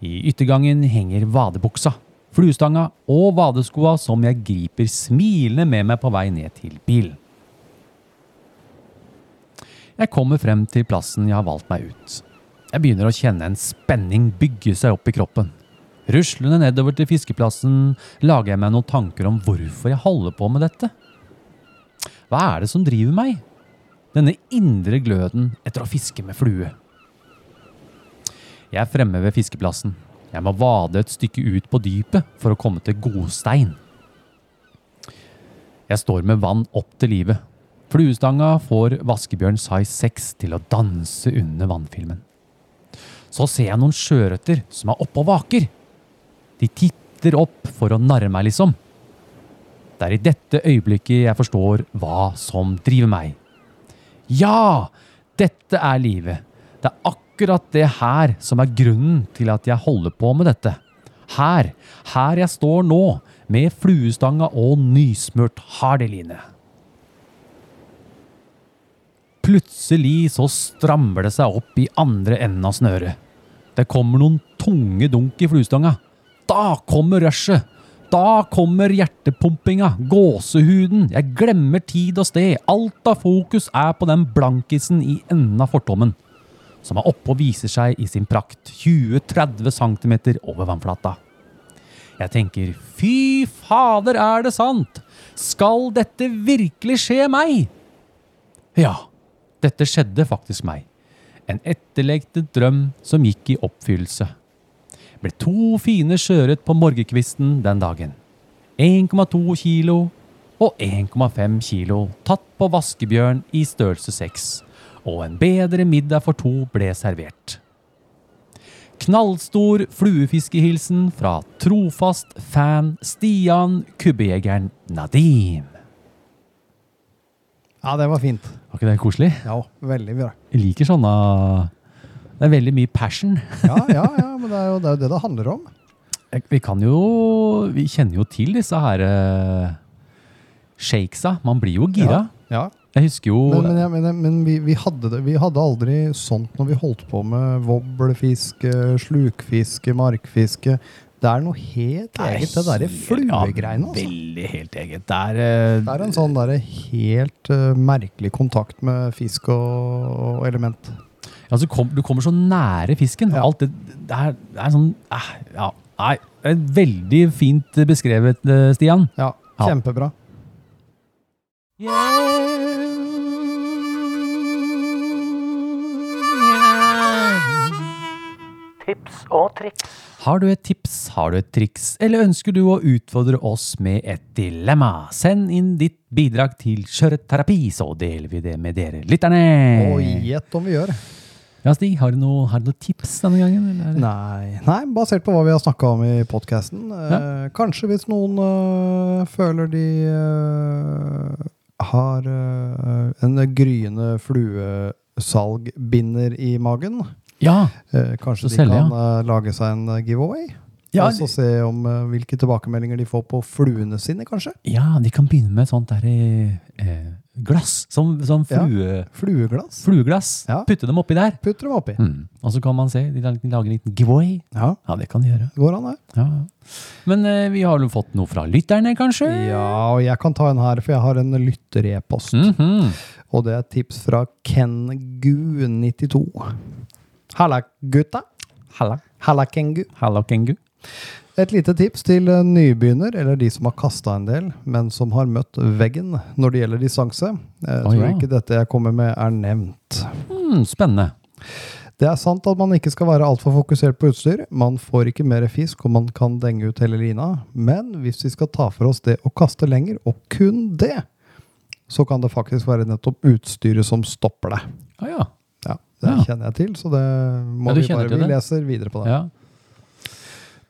Speaker 2: I yttergangen henger vadebuksa, fluestanga og vadeskoa som jeg griper smilende med meg på vei ned til bilen. Jeg kommer frem til plassen jeg har valgt meg ut. Jeg begynner å kjenne en spenning bygge seg opp i kroppen. Ruslende nedover til fiskeplassen lager jeg meg noen tanker om hvorfor jeg holder på med dette. Hva er det som driver meg? Denne indre gløden etter å fiske med flue. Jeg er fremme ved fiskeplassen. Jeg må vade et stykke ut på dypet for å komme til godstein. Jeg står med vann opp til livet. Fluestanga får vaskebjørn size 6 til å danse under vannfilmen. Så ser jeg noen sjøørreter som er oppe og vaker. De titter opp for å narre meg, liksom. Det er i dette øyeblikket jeg forstår hva som driver meg. Ja! Dette er livet. Det er akkurat det her som er grunnen til at jeg holder på med dette. Her. Her jeg står nå, med fluestanga og nysmurt hardeline. Plutselig så strammer det seg opp i andre enden av snøret. Det kommer noen tunge dunk i fluestanga. Da kommer rushet! Da kommer hjertepumpinga, gåsehuden. Jeg glemmer tid og sted. Alt av fokus er på den blankisen i enden av fortommen, som er oppe og viser seg i sin prakt 20-30 cm over vannflata. Jeg tenker fy fader, er det sant? Skal dette virkelig skje meg? Ja, dette skjedde faktisk meg. En etterlengtet drøm som gikk i oppfyllelse. Ble to fine sjøørret på morgenkvisten den dagen. 1,2 kilo og 1,5 kilo tatt på vaskebjørn i størrelse 6. Og en bedre middag for to ble servert. Knallstor fluefiskehilsen fra trofast fan Stian Kubbejegeren Nadim.
Speaker 6: Ja, det var fint.
Speaker 2: Var ikke det koselig?
Speaker 6: Ja, veldig bra.
Speaker 2: Jeg liker sånne Det er veldig mye passion.
Speaker 6: Ja, ja, ja, men det er jo det, er jo det, det handler om.
Speaker 2: Vi kan jo Vi kjenner jo til disse her eh, shakesa. Man blir jo gira.
Speaker 6: Ja.
Speaker 2: Jeg husker jo
Speaker 6: Men, men, jeg, mener, men vi, vi, hadde det, vi hadde aldri sånt når vi holdt på med vobblefiske, slukfiske, markfiske. Det er noe helt eget, det derre
Speaker 2: Ja,
Speaker 6: fluegreiene. Altså.
Speaker 2: veldig helt eget. Det er,
Speaker 6: Det
Speaker 2: eh,
Speaker 6: er en sånn derre helt eh, merkelig kontakt med fisk og, og element.
Speaker 2: Ja, så altså, kom, du kommer så nære fisken.
Speaker 6: Ja.
Speaker 2: Alt det, det, er, det er sånn eh, ja, Nei, det er veldig fint beskrevet, eh, Stian.
Speaker 6: Ja,
Speaker 2: Ja.
Speaker 6: kjempebra.
Speaker 3: Tips og triks.
Speaker 2: Har du et tips, har du et triks, eller ønsker du å utfordre oss med et dilemma? Send inn ditt bidrag til Skjøretterapi, så deler vi det med dere lytterne.
Speaker 6: Og gjett om vi gjør.
Speaker 2: Ja, Stig, har du noe, har du noe tips denne gangen? Eller?
Speaker 6: Nei, nei, basert på hva vi har snakka om i podkasten. Eh, kanskje hvis noen eh, føler de eh, har eh, en gryende fluesalgbinder i magen.
Speaker 2: Ja,
Speaker 6: Eh, kanskje
Speaker 2: Så
Speaker 6: de
Speaker 2: selger,
Speaker 6: kan eh, lage seg en eh, giveaway.
Speaker 2: Ja,
Speaker 6: og så se om eh, hvilke tilbakemeldinger de får på fluene sine, kanskje.
Speaker 2: ja, de kan begynne med et sånt der, eh, eh, glass, sånn, sånn
Speaker 6: Ja.
Speaker 2: flue,
Speaker 6: Flueglass.
Speaker 2: flueglass.
Speaker 6: Ja.
Speaker 2: Putte dem oppi der.
Speaker 6: Putter dem oppi.
Speaker 2: Mm. Og så kan man se, de lager, de lager en liten giveaway.
Speaker 6: Ja,
Speaker 2: Ja, det kan de gjøre.
Speaker 6: går an, det.
Speaker 2: Ja. Men eh, vi har jo fått noe fra lytterne, kanskje?
Speaker 6: Ja, og jeg kan ta en her, for jeg har en lytterepost.
Speaker 2: Mhm.
Speaker 6: Og det er et tips fra Kengu92. Halla, gutta.
Speaker 2: Halla.
Speaker 6: Halla, Kengu.
Speaker 2: Halla, Kengu.
Speaker 6: Et lite tips til eh, nybegynner, eller de som har kasta en del, men som har møtt veggen når det gjelder distanse. Jeg
Speaker 2: Å,
Speaker 6: tror
Speaker 2: ja.
Speaker 6: ikke dette jeg kommer med, er nevnt.
Speaker 2: Mm, spennende.
Speaker 6: Det er sant at man ikke skal være altfor fokusert på utstyr. Man får ikke mer fisk, og man kan denge ut hele lina. Men hvis vi skal ta for oss det å kaste lenger, og kun det, så kan det faktisk være nettopp utstyret som stopper deg.
Speaker 2: Ah, ja.
Speaker 6: Ja, det
Speaker 2: Ja.
Speaker 6: kjenner jeg til, så det må
Speaker 2: Ja, du
Speaker 6: vi
Speaker 2: kjenner
Speaker 6: bare
Speaker 2: til
Speaker 6: Vi
Speaker 2: det?
Speaker 6: leser videre på det.
Speaker 2: Ja.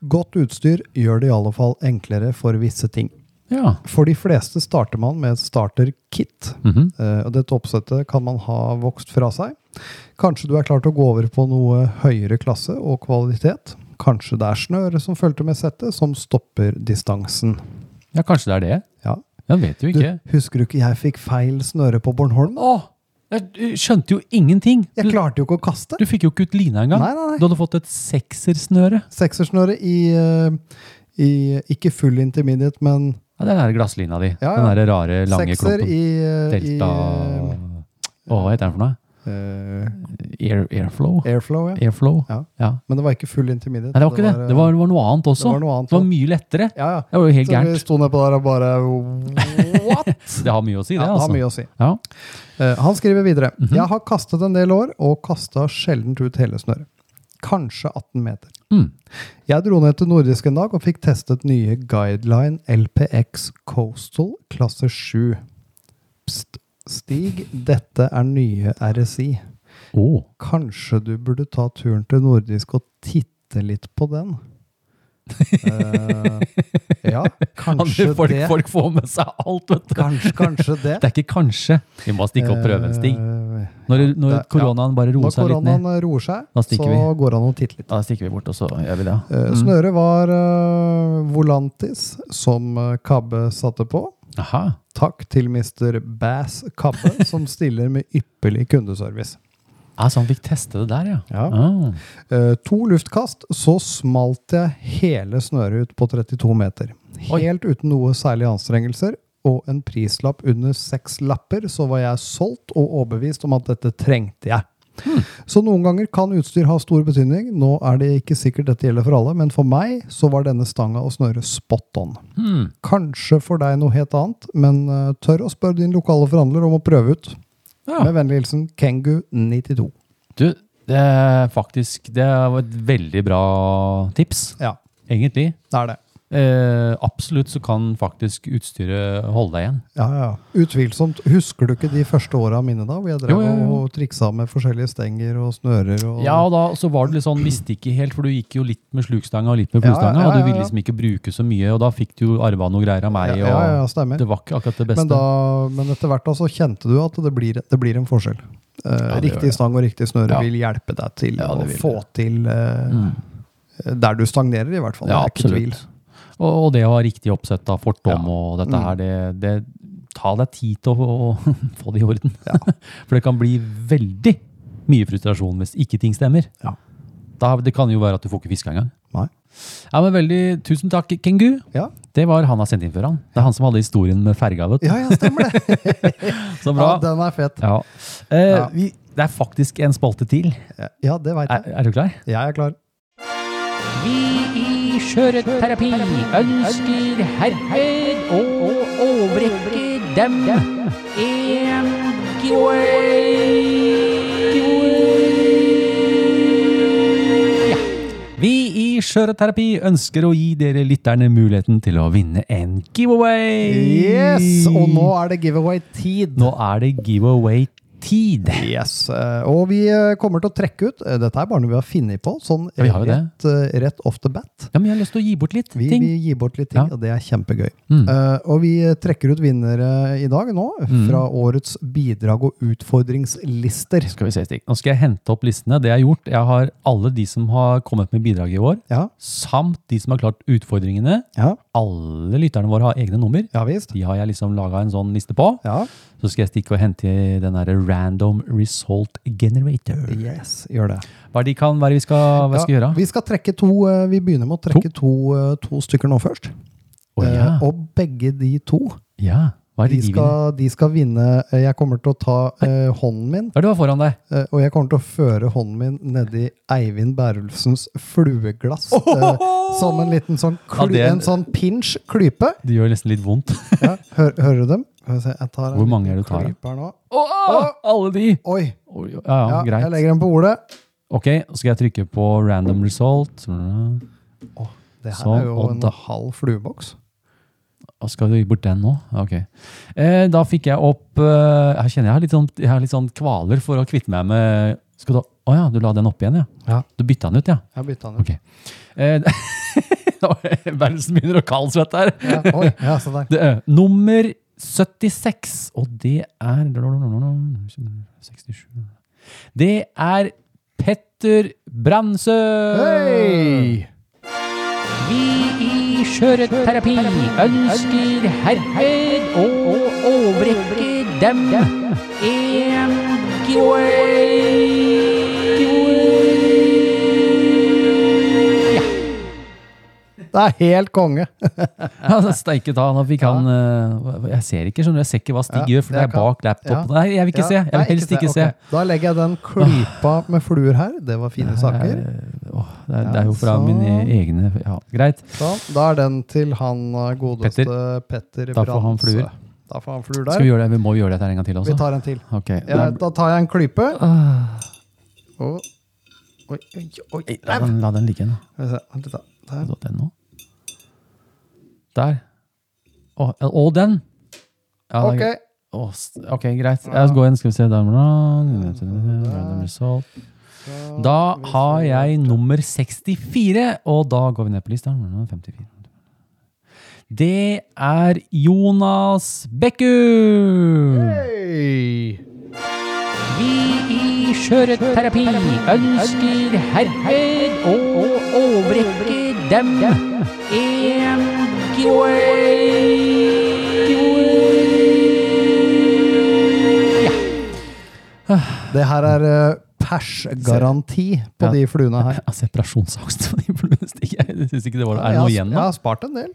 Speaker 6: Godt utstyr gjør det i alle fall enklere for visse ting.
Speaker 2: ja.
Speaker 6: For de fleste starter man med et starter-kit.
Speaker 2: Mhm.
Speaker 6: Eh, og Dette oppsettet kan man ha vokst fra seg. Kanskje du er klar til å gå over på noe høyere klasse og kvalitet. Kanskje det er snøret som fulgte med settet, som stopper distansen.
Speaker 2: ja, kanskje det er det.
Speaker 6: Ja.
Speaker 2: Jeg vet jo
Speaker 6: Du,
Speaker 2: ikke.
Speaker 6: husker du ikke jeg fikk feil snøre på Bornholm?
Speaker 2: Å, jeg du skjønte jo ingenting.
Speaker 6: Jeg klarte jo ikke å kaste.
Speaker 2: Du fikk jo ikke ut lina engang.
Speaker 6: Nei, nei, nei.
Speaker 2: Du hadde fått et seksersnøre.
Speaker 6: Seksersnøre i, eh, i Ikke full intermediate, men
Speaker 2: Ja, det er den der glasslina di.
Speaker 6: Ja,
Speaker 2: Den
Speaker 6: ja.
Speaker 2: der rare, lange
Speaker 6: sekser
Speaker 2: klumpen.
Speaker 6: i, eh, i
Speaker 2: Delta Å, hva heter den for noe?
Speaker 6: eh,
Speaker 2: Air, airflow?
Speaker 6: Airflow, ja.
Speaker 2: Airflow?
Speaker 6: Ja.
Speaker 2: ja.
Speaker 6: Men det var ikke full intermediate.
Speaker 2: Nei,
Speaker 6: eh,
Speaker 2: det var ikke det. Det var, det var noe annet også.
Speaker 6: var noe annet
Speaker 2: Det var
Speaker 6: også.
Speaker 2: mye lettere.
Speaker 6: Ja, ja.
Speaker 2: Det var jo helt
Speaker 6: Så vi
Speaker 2: gærent.
Speaker 6: sto nedpå der og bare What?!
Speaker 2: Det har mye å si, det.
Speaker 6: Ja, det
Speaker 2: altså. Mhm.
Speaker 6: har mye å si.
Speaker 2: Ja.
Speaker 6: Eh, han skriver videre. Jeg har kastet en del år, og kasta sjeldent ut hele snøret. Kanskje 18 meter.
Speaker 2: Mm.
Speaker 6: Jeg dro ned til nordisk en dag og fikk testet nye Guideline LPX Coastal klasse 7. Pst, Stig, dette er nye RSI.
Speaker 2: Å.
Speaker 6: Kanskje du burde ta turen til nordisk og titte litt på den? Eh, ja, kanskje
Speaker 2: folk,
Speaker 6: det.
Speaker 2: folk får med seg alt, vet du.
Speaker 6: Kanskje, kanskje det.
Speaker 2: Det er ikke kanskje. Vi må stikke opp prøven, Stig.
Speaker 6: Eh,
Speaker 2: Når, når
Speaker 6: det- ja.
Speaker 2: koronaen bare roer
Speaker 6: Når
Speaker 2: seg litt ned,
Speaker 6: koronaen roer seg,
Speaker 2: Da
Speaker 6: så
Speaker 2: stikker vi. Mm.
Speaker 6: går det an å titte litt.
Speaker 2: da stikker vi bort, og så gjør vi det.
Speaker 6: Eh, Snøret var eh, Volantis, som eh, Kabbe satte på.
Speaker 2: Aha.
Speaker 6: Takk til Mr. Bass Kabbe, som stiller med ypperlig kundeservice.
Speaker 2: Altså, han fikk teste det der, ja.
Speaker 6: Ja.
Speaker 2: Ah.
Speaker 6: Eh, to luftkast, så smalt jeg hele snøret ut på 32 meter.
Speaker 2: Oi.
Speaker 6: Helt uten noe særlige anstrengelser. Og en prislapp under seks lapper, så var jeg solgt og overbevist om at dette trengte jeg.
Speaker 2: Hmm.
Speaker 6: Så noen ganger kan utstyr ha stor betydning. Nå er det ikke sikkert dette gjelder for alle, men for meg så var denne stanga og snøret spot on.
Speaker 2: Hmm.
Speaker 6: Kanskje for deg noe helt annet, men eh, tør å spørre din lokale forhandler om å prøve ut.
Speaker 2: Ja.
Speaker 6: Med vennlig hilsen Kengu92.
Speaker 2: Du, det er faktisk Det var et veldig bra tips,
Speaker 6: Ja,
Speaker 2: egentlig.
Speaker 6: det er det.
Speaker 2: Eh, absolutt så kan faktisk utstyret holde deg igjen.
Speaker 6: Ja, ja. Utvilsomt. Husker du ikke de første åra mine da, hvor jeg drev
Speaker 2: Jo, jo, jo.
Speaker 6: og triksa med forskjellige stenger og snører og
Speaker 2: Ja, og da så var det litt sånn, visste ikke helt, for du gikk jo litt med slukstanga og litt med
Speaker 6: Ja,
Speaker 2: plugstanga,
Speaker 6: ja,
Speaker 2: og du
Speaker 6: ja,
Speaker 2: ville
Speaker 6: ja.
Speaker 2: liksom ikke bruke så mye, og da fikk du jo arva noe greier av meg,
Speaker 6: ja,
Speaker 2: og
Speaker 6: ja, ja, stemmer.
Speaker 2: det var ikke akkurat det beste.
Speaker 6: Men, da, men etter hvert da så kjente du at det blir, det blir en forskjell. Eh,
Speaker 2: det gjør
Speaker 6: riktig
Speaker 2: det.
Speaker 6: stang og riktig snøre
Speaker 2: Ja.
Speaker 6: vil hjelpe deg til
Speaker 2: Ja,
Speaker 6: å
Speaker 2: det vil
Speaker 6: få til eh, der du stagnerer, i hvert fall.
Speaker 2: ja,
Speaker 6: det er ikke
Speaker 2: absolutt. Og, og det å ha riktig oppsett da, fortom og dette
Speaker 6: Mm.
Speaker 2: her, det, det ta deg tid til å, å få det i orden. For det kan bli veldig mye frustrasjon hvis ikke ting stemmer.
Speaker 6: Ja.
Speaker 2: Da, det kan jo være at du får ikke fiska engang.
Speaker 6: Nei.
Speaker 2: Ja, men veldig, tusen takk, Kengu.
Speaker 6: Ja.
Speaker 2: Det var han har sendt inn før han. Det er han som hadde historien med ferga, vet du.
Speaker 6: Ja, ja, stemmer det.
Speaker 2: Så
Speaker 6: ja,
Speaker 2: bra.
Speaker 6: den er fet.
Speaker 2: Ja. Eh,
Speaker 6: Ja.
Speaker 2: Vi, Det er faktisk en spalte til.
Speaker 6: Ja, det veit
Speaker 2: Er,
Speaker 6: jeg.
Speaker 2: er du klar?
Speaker 6: Jeg er klar.
Speaker 2: Vi i Skjøreterapi ønsker herved å overrekke dem en giveaway. Vi i Skjøreterapi ønsker å gi dere lytterne muligheten til å vinne en giveaway.
Speaker 6: Yes! Og nå er det giveaway-tid.
Speaker 2: Nå er det giveaway-tid.
Speaker 6: Yes, eh, Og vi eh, kommer til å trekke ut eh, Dette er bare noe vi har funnet på, sånn
Speaker 2: Ja, vi har jo det.
Speaker 6: rett, eh, rett off the bat.
Speaker 2: Ja, men jeg har lyst til å gi bort litt
Speaker 6: Vi,
Speaker 2: ting.
Speaker 6: vi gir bort litt ting,
Speaker 2: Ja.
Speaker 6: og det er kjempegøy.
Speaker 2: Mm.
Speaker 6: Eh, og vi trekker ut vinnere i dag nå, fra årets bidrag og utfordringslister.
Speaker 2: Skal vi se, Stig. Nå skal jeg hente opp listene. Det jeg har gjort, jeg har alle de som har kommet med bidrag i år,
Speaker 6: Ja,
Speaker 2: samt de som har klart utfordringene.
Speaker 6: ja,
Speaker 2: Alle lytterne våre har egne nummer.
Speaker 6: ja visst.
Speaker 2: De har jeg liksom laga en sånn liste på.
Speaker 6: Ja,
Speaker 2: Så skal jeg stikke og hente den derre Random Result Generator.
Speaker 6: yes, gjør det.
Speaker 2: Hva er det de kan være vi skal, hva skal vi
Speaker 6: Ja,
Speaker 2: gjøre?
Speaker 6: Vi skal trekke to, eh, vi begynner med å trekke to, eh, to stykker nå først.
Speaker 2: Å ja.
Speaker 6: Eh, og begge de to,
Speaker 2: ja. Hva er det
Speaker 6: de
Speaker 2: de vinner?
Speaker 6: skal, de skal vinne. Eh, Jeg kommer til å ta eh, hånden min
Speaker 2: Hva er det du har foran deg?
Speaker 6: Eh, og jeg kommer til å føre hånden min nedi Eivind Bærulfsens flueglass. eh, som en liten sånn,
Speaker 2: Ja,
Speaker 6: kly,
Speaker 2: det er-
Speaker 6: en sånn pinsj klype.
Speaker 2: Det gjør nesten litt vondt.
Speaker 6: Ja, hør, hører du dem? Skal vi se, Jeg tar en
Speaker 2: Hvor mange
Speaker 6: liten
Speaker 2: er det du tar, da?
Speaker 6: klype her nå.
Speaker 2: alle de!
Speaker 6: Oi!
Speaker 2: Oi, Ja, ja,
Speaker 6: Ja, jeg
Speaker 2: greit.
Speaker 6: legger den på ordet.
Speaker 2: Ok, så skal jeg trykke på Random Result. Hva
Speaker 6: Det her
Speaker 2: Sånn,
Speaker 6: er jo
Speaker 2: og
Speaker 6: en
Speaker 2: da-
Speaker 6: halv flueboks.
Speaker 2: skal du gi bort den nå? Ok. Eh, da fikk jeg opp eh, Jeg kjenner jeg har, litt sånn, jeg har litt sånn kvaler for å kvitte meg med Skal du Å ja, du la den opp igjen, ja?
Speaker 6: Ja.
Speaker 2: Du bytta den ut, ja?
Speaker 6: Jeg bytta den ut.
Speaker 2: Ok. Eh, Berntsen begynner å kaldsvette her.
Speaker 6: Ja, oi, ja, se der.
Speaker 2: Det er nummer 76, og det er 67 Det er Petter Bransø!
Speaker 6: Hei!
Speaker 2: Vi i Skjøreterapi ønsker herved å overrekke dem en giveaway.
Speaker 6: Det er helt konge.
Speaker 2: Ja, altså, Steike ta, nå fikk han eh, Jeg ser ikke, skjønner du. Jeg ser ikke hva Stig
Speaker 6: Ja,
Speaker 2: gjør, for det
Speaker 6: jeg
Speaker 2: er
Speaker 6: kan-
Speaker 2: bak laptopen. Nei, jeg vil ikke
Speaker 6: Ja,
Speaker 2: se. Jeg
Speaker 6: nei,
Speaker 2: vil helst ikke se.
Speaker 6: ok. Da legger jeg den klypa med fluer her. Det var fine saker.
Speaker 2: Eh, åh, det, er, det er jo fra
Speaker 6: Ja, så-
Speaker 2: mine egne Ja, greit.
Speaker 6: Sånn. Da er den til han eh, godeste Petter,
Speaker 2: Da får han
Speaker 6: Brandse.
Speaker 2: fluer.
Speaker 6: Da får han fluer
Speaker 2: Skal vi
Speaker 6: der.
Speaker 2: gjøre det? Vi må gjøre dette her en gang til
Speaker 6: Vi
Speaker 2: også. Ah.
Speaker 6: tar en til.
Speaker 2: Ok.
Speaker 6: Ja, da tar jeg en klype. Og, oi, oi, oi.
Speaker 2: La den, la den ligge nå.
Speaker 6: Skal vi se, vent litt da. Der.
Speaker 2: Så Den nå. Der. Åh, og den! Ja, det er
Speaker 6: Ok.
Speaker 2: greit. Åh, s- ok, greit. Jeg går inn, skal vi se. Der, random result. Da har jeg nummer 64, og da går vi ned på lista. 54. Det er Jonas Bekku!
Speaker 6: Hei!
Speaker 2: Vi i Skjøreterapi ønsker herved å overrekke dem en giveaway.
Speaker 6: Det her er eh, persgaranti på
Speaker 2: Ja.
Speaker 6: de fluene her.
Speaker 2: Ja, separasjonsangst på Altså, de fluene, Stig. Jeg syns ikke det var det. Er
Speaker 6: Jeg
Speaker 2: det
Speaker 6: har-
Speaker 2: noe igjen
Speaker 6: Jeg
Speaker 2: nå?
Speaker 6: har spart en del.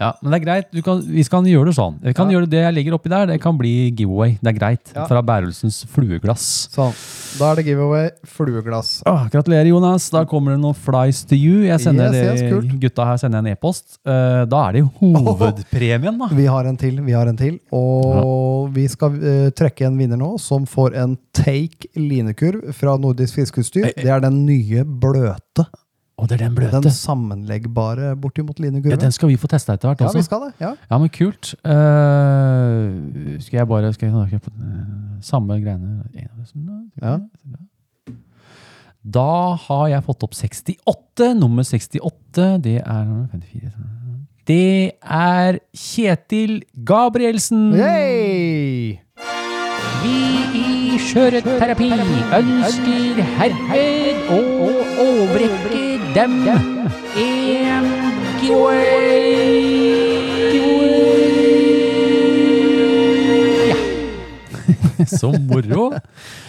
Speaker 2: Ja, men det er greit. Du kan, vi skal gjøre det sånn. Vi kan
Speaker 6: Ja.
Speaker 2: gjøre Det jeg legger oppi der, det kan bli giveaway. Det er greit.
Speaker 6: Ja.
Speaker 2: Fra Bærelsens flueglass.
Speaker 6: Sånn. Da er det giveaway flueglass.
Speaker 2: Åh, gratulerer, Jonas. Da kommer det noen flies to you. Jeg sender
Speaker 6: Yes, yes,
Speaker 2: det-
Speaker 6: kult.
Speaker 2: Gutta her sender jeg en e-post. Eh, da er det jo hovedpremien, da.
Speaker 6: Vi har en til, vi har en til. Og vi skal eh, trekke en vinner nå, som får en Take linekurv fra Nordisk Fiskeutstyr. Det er den nye bløte.
Speaker 2: Å, det er den Eh, bløte.
Speaker 6: Den sammenleggbare bortimot
Speaker 2: ja,
Speaker 6: linekurven.
Speaker 2: den skal vi få testa etter hvert
Speaker 6: Ja, vi
Speaker 2: også.
Speaker 6: skal det. Ja.
Speaker 2: Ja, men kult. Eh, skal jeg bare skal jeg, eh, Samme greiene.
Speaker 6: Ja.
Speaker 2: Da har jeg fått opp 68. Nummer 68, det er 54 Det er Kjetil Gabrielsen!
Speaker 6: Yay!
Speaker 2: Vi i Skjøreterapi ønsker herved å overrekke dem en giveaway. Så moro.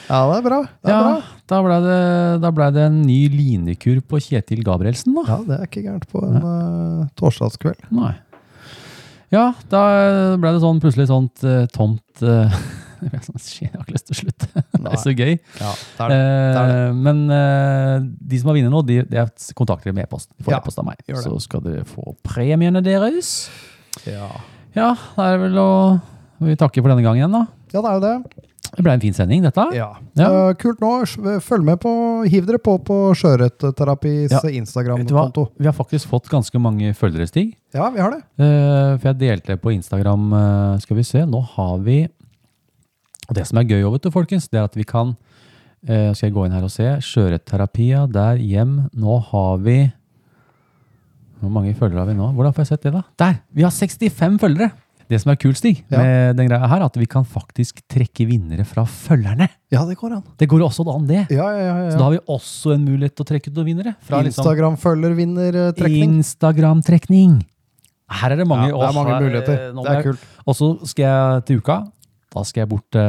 Speaker 6: Ja, det er bra. Det er
Speaker 2: Ja,
Speaker 6: bra.
Speaker 2: da blei det, da ble det en ny linekur på Kjetil Gabrielsen, da.
Speaker 6: Ja, det er ikke gærent på en eh, torsdagskveld.
Speaker 2: Nei. Ja, da blei det sånn plutselig sånt eh, tomt eh, Jeg ble sånn, shit, jeg har ikke lyst til å slutte. Det
Speaker 6: Nei.
Speaker 2: er så gøy.
Speaker 6: Ja, det er det. det, er det.
Speaker 2: Eh, Men eh, de som har vunnet nå, de, de kontakter dere med e-post. De får
Speaker 6: Ja,
Speaker 2: e-post av meg.
Speaker 6: gjør det.
Speaker 2: Så skal dere få premiene deres.
Speaker 6: Eh, Ja.
Speaker 2: Ja, da er det vel å vi takker for denne gangen, da.
Speaker 6: ja, det er jo det.
Speaker 2: Det ble en fin sending, dette.
Speaker 6: Ja.
Speaker 2: Ja.
Speaker 6: Eh, kult nå. Sj- Følg med på Hiv dere på på Sjøørretterapis
Speaker 2: Ja. Vet du hva?
Speaker 6: Instagram-konto.
Speaker 2: Vi har faktisk fått ganske mange følgere, Stig.
Speaker 6: Ja, vi har det.
Speaker 2: Eh, for jeg delte på Instagram eh, Skal vi se, nå har vi Og det som er gøy, vet du, folkens, det er at vi kan eh, Skal jeg gå inn her og se? Skjøreterapia der hjem. Nå har vi Hvor mange følgere har vi nå? Hvordan får jeg sett det, da? Der! Vi har 65 følgere! Det som er kult, Stig,
Speaker 6: Ja.
Speaker 2: med den greia her, er at vi kan faktisk trekke vinnere fra følgerne.
Speaker 6: Ja, det går an.
Speaker 2: Det går jo også an, det.
Speaker 6: Ja, ja, ja.
Speaker 2: Så da har vi også en mulighet til å trekke ut noen vinnere.
Speaker 6: ja.
Speaker 2: Fra liksom
Speaker 6: Instagram-følger-vinner-trekning.
Speaker 2: Instagram-trekning. Her er det mange,
Speaker 6: eh, Ja, det er mange
Speaker 2: Åh, her- eh,
Speaker 6: muligheter.
Speaker 2: nå må
Speaker 6: Det er
Speaker 2: jeg-
Speaker 6: kult.
Speaker 2: og så skal jeg til uka. Da skal jeg bort eh,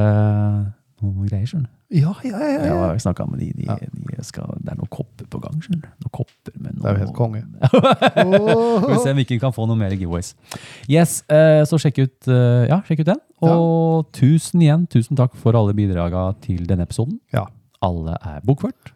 Speaker 2: noen greier, skjønner du.
Speaker 6: Ja, ja, ja.
Speaker 2: Jeg
Speaker 6: ja, ja.
Speaker 2: har snakka med de, de,
Speaker 6: Ja.
Speaker 2: de skal, Det er noen kopper på gang, skjønner du. Noen kopper med noe
Speaker 6: Det er jo helt konge.
Speaker 2: Skal vi se om vi ikke kan få noen mer giveaways. Yes, eh, så sjekk ut, eh, ja, sjekk ut den. Og tusen igjen, tusen takk for alle bidraga til denne episoden.
Speaker 6: Ja.
Speaker 2: Alle er bokført,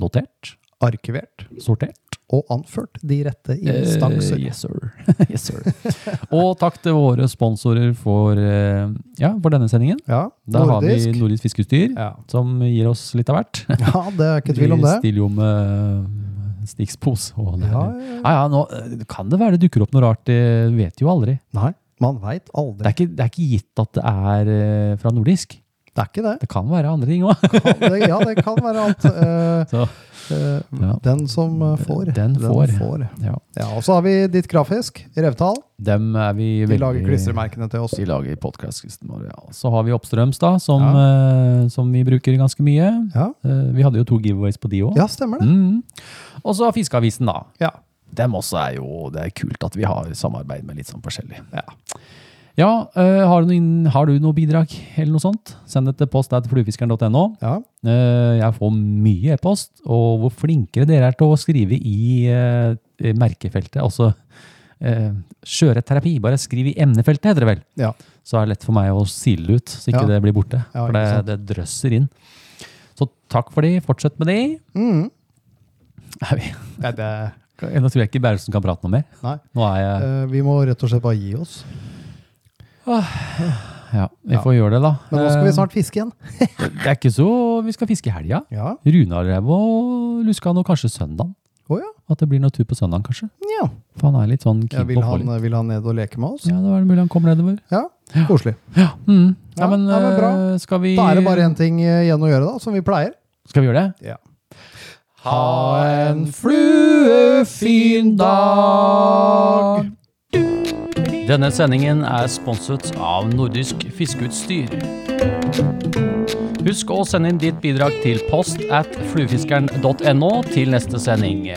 Speaker 2: notert,
Speaker 6: Arkivert
Speaker 2: sortert.
Speaker 6: og anført de rette instanser.
Speaker 2: Eh, yes, sir. yes, sir. Og takk til våre sponsorer for, eh, ja, for denne sendingen.
Speaker 6: Ja,
Speaker 2: Da har
Speaker 6: nordisk.
Speaker 2: vi Nordisk Fiskeutstyr,
Speaker 6: Ja.
Speaker 2: som gir oss litt av hvert.
Speaker 6: ja, det er ikke tvil om
Speaker 2: Vi
Speaker 6: det.
Speaker 2: stiller jo med Stix-pose. og det er- Ja,
Speaker 6: Ja, ja,
Speaker 2: ja,
Speaker 6: ja.
Speaker 2: nå eh, kan det være det dukker opp noe rart, det vet jo aldri.
Speaker 6: Nei, man veit
Speaker 2: Det er,
Speaker 6: aldri.
Speaker 2: ikke, det er ikke gitt at det er eh, fra nordisk.
Speaker 6: Det er ikke det.
Speaker 2: Det kan være andre ting òg.
Speaker 6: Kan, det ja, det kan være alt. Eh,
Speaker 2: Så,
Speaker 6: eh,
Speaker 2: ja.
Speaker 6: den som eh, får.
Speaker 2: Den får. ja.
Speaker 6: Ja, og så har vi ditt grafisk. Revtal.
Speaker 2: Dem er vi
Speaker 6: De lager
Speaker 2: veldig-
Speaker 6: klistremerkene til oss.
Speaker 2: De lager podkastlisten vår, ja. Så har vi Oppstrøms, da, som, eh, som vi bruker ganske mye.
Speaker 6: Ja,
Speaker 2: Eh, vi hadde jo to giveaways på de òg.
Speaker 6: ja stemmer det.
Speaker 2: Mm. Og så Fiskeavisen, da.
Speaker 6: Ja.
Speaker 2: Dem også er jo Det er kult at vi har samarbeid med litt sånn forskjellig. Ja, eh, har, du noen, har du noe bidrag eller noe sånt? Send det til post at fluefiskeren.no.
Speaker 6: Ja.
Speaker 2: Eh, jeg får mye e-post, og hvor flinkere dere er til å skrive i eh, merkefeltet. Altså eh, skjøreterapi. Bare skriv i emnefeltet, heter det vel
Speaker 6: ja.
Speaker 2: så er det lett for meg å sile ut, så ikke
Speaker 6: Ja.
Speaker 2: det blir borte.
Speaker 6: Ja,
Speaker 2: for det,
Speaker 6: ikke sant.
Speaker 2: det drøsser inn. Så takk for de, fortsett med de.
Speaker 6: Mm.
Speaker 2: Er vi-
Speaker 6: Nei, det,
Speaker 2: Nå tror jeg ikke Bærelsen kan prate noe mer.
Speaker 6: nei.
Speaker 2: Nå er jeg,
Speaker 6: Eh, vi må rett og slett bare gi oss.
Speaker 2: ja, vi
Speaker 6: Eh, ja.
Speaker 2: får gjøre det da.
Speaker 6: Men nå skal
Speaker 2: Eh,
Speaker 6: vi snart fiske igjen.
Speaker 2: Det er ikke så, vi skal fiske i helga.
Speaker 6: Ja.
Speaker 2: Runarev og Luskan og kanskje søndag.
Speaker 6: Å ja.
Speaker 2: At det blir noe tur på søndag kanskje.
Speaker 6: ja.
Speaker 2: For han er litt sånn
Speaker 6: Ja,
Speaker 2: keen
Speaker 6: vil,
Speaker 2: på å få
Speaker 6: han, eh,
Speaker 2: litt.
Speaker 6: vil han ned og leke med oss?
Speaker 2: Ja, da er det mulig han kommer nedover.
Speaker 6: Ja, koselig.
Speaker 2: Ja, mm. ja,
Speaker 6: Ja,
Speaker 2: men,
Speaker 6: ja, men bra.
Speaker 2: eh, skal vi...
Speaker 6: Da er det bare én ting eh, igjen å gjøre, da, som vi pleier.
Speaker 2: Skal vi gjøre det?
Speaker 6: Ja.
Speaker 2: Ha en fluefin dag! Denne sendingen er sponset av Nordisk Fiskeutstyr. Husk å sende inn ditt bidrag til post at fluefiskeren.no til neste sending.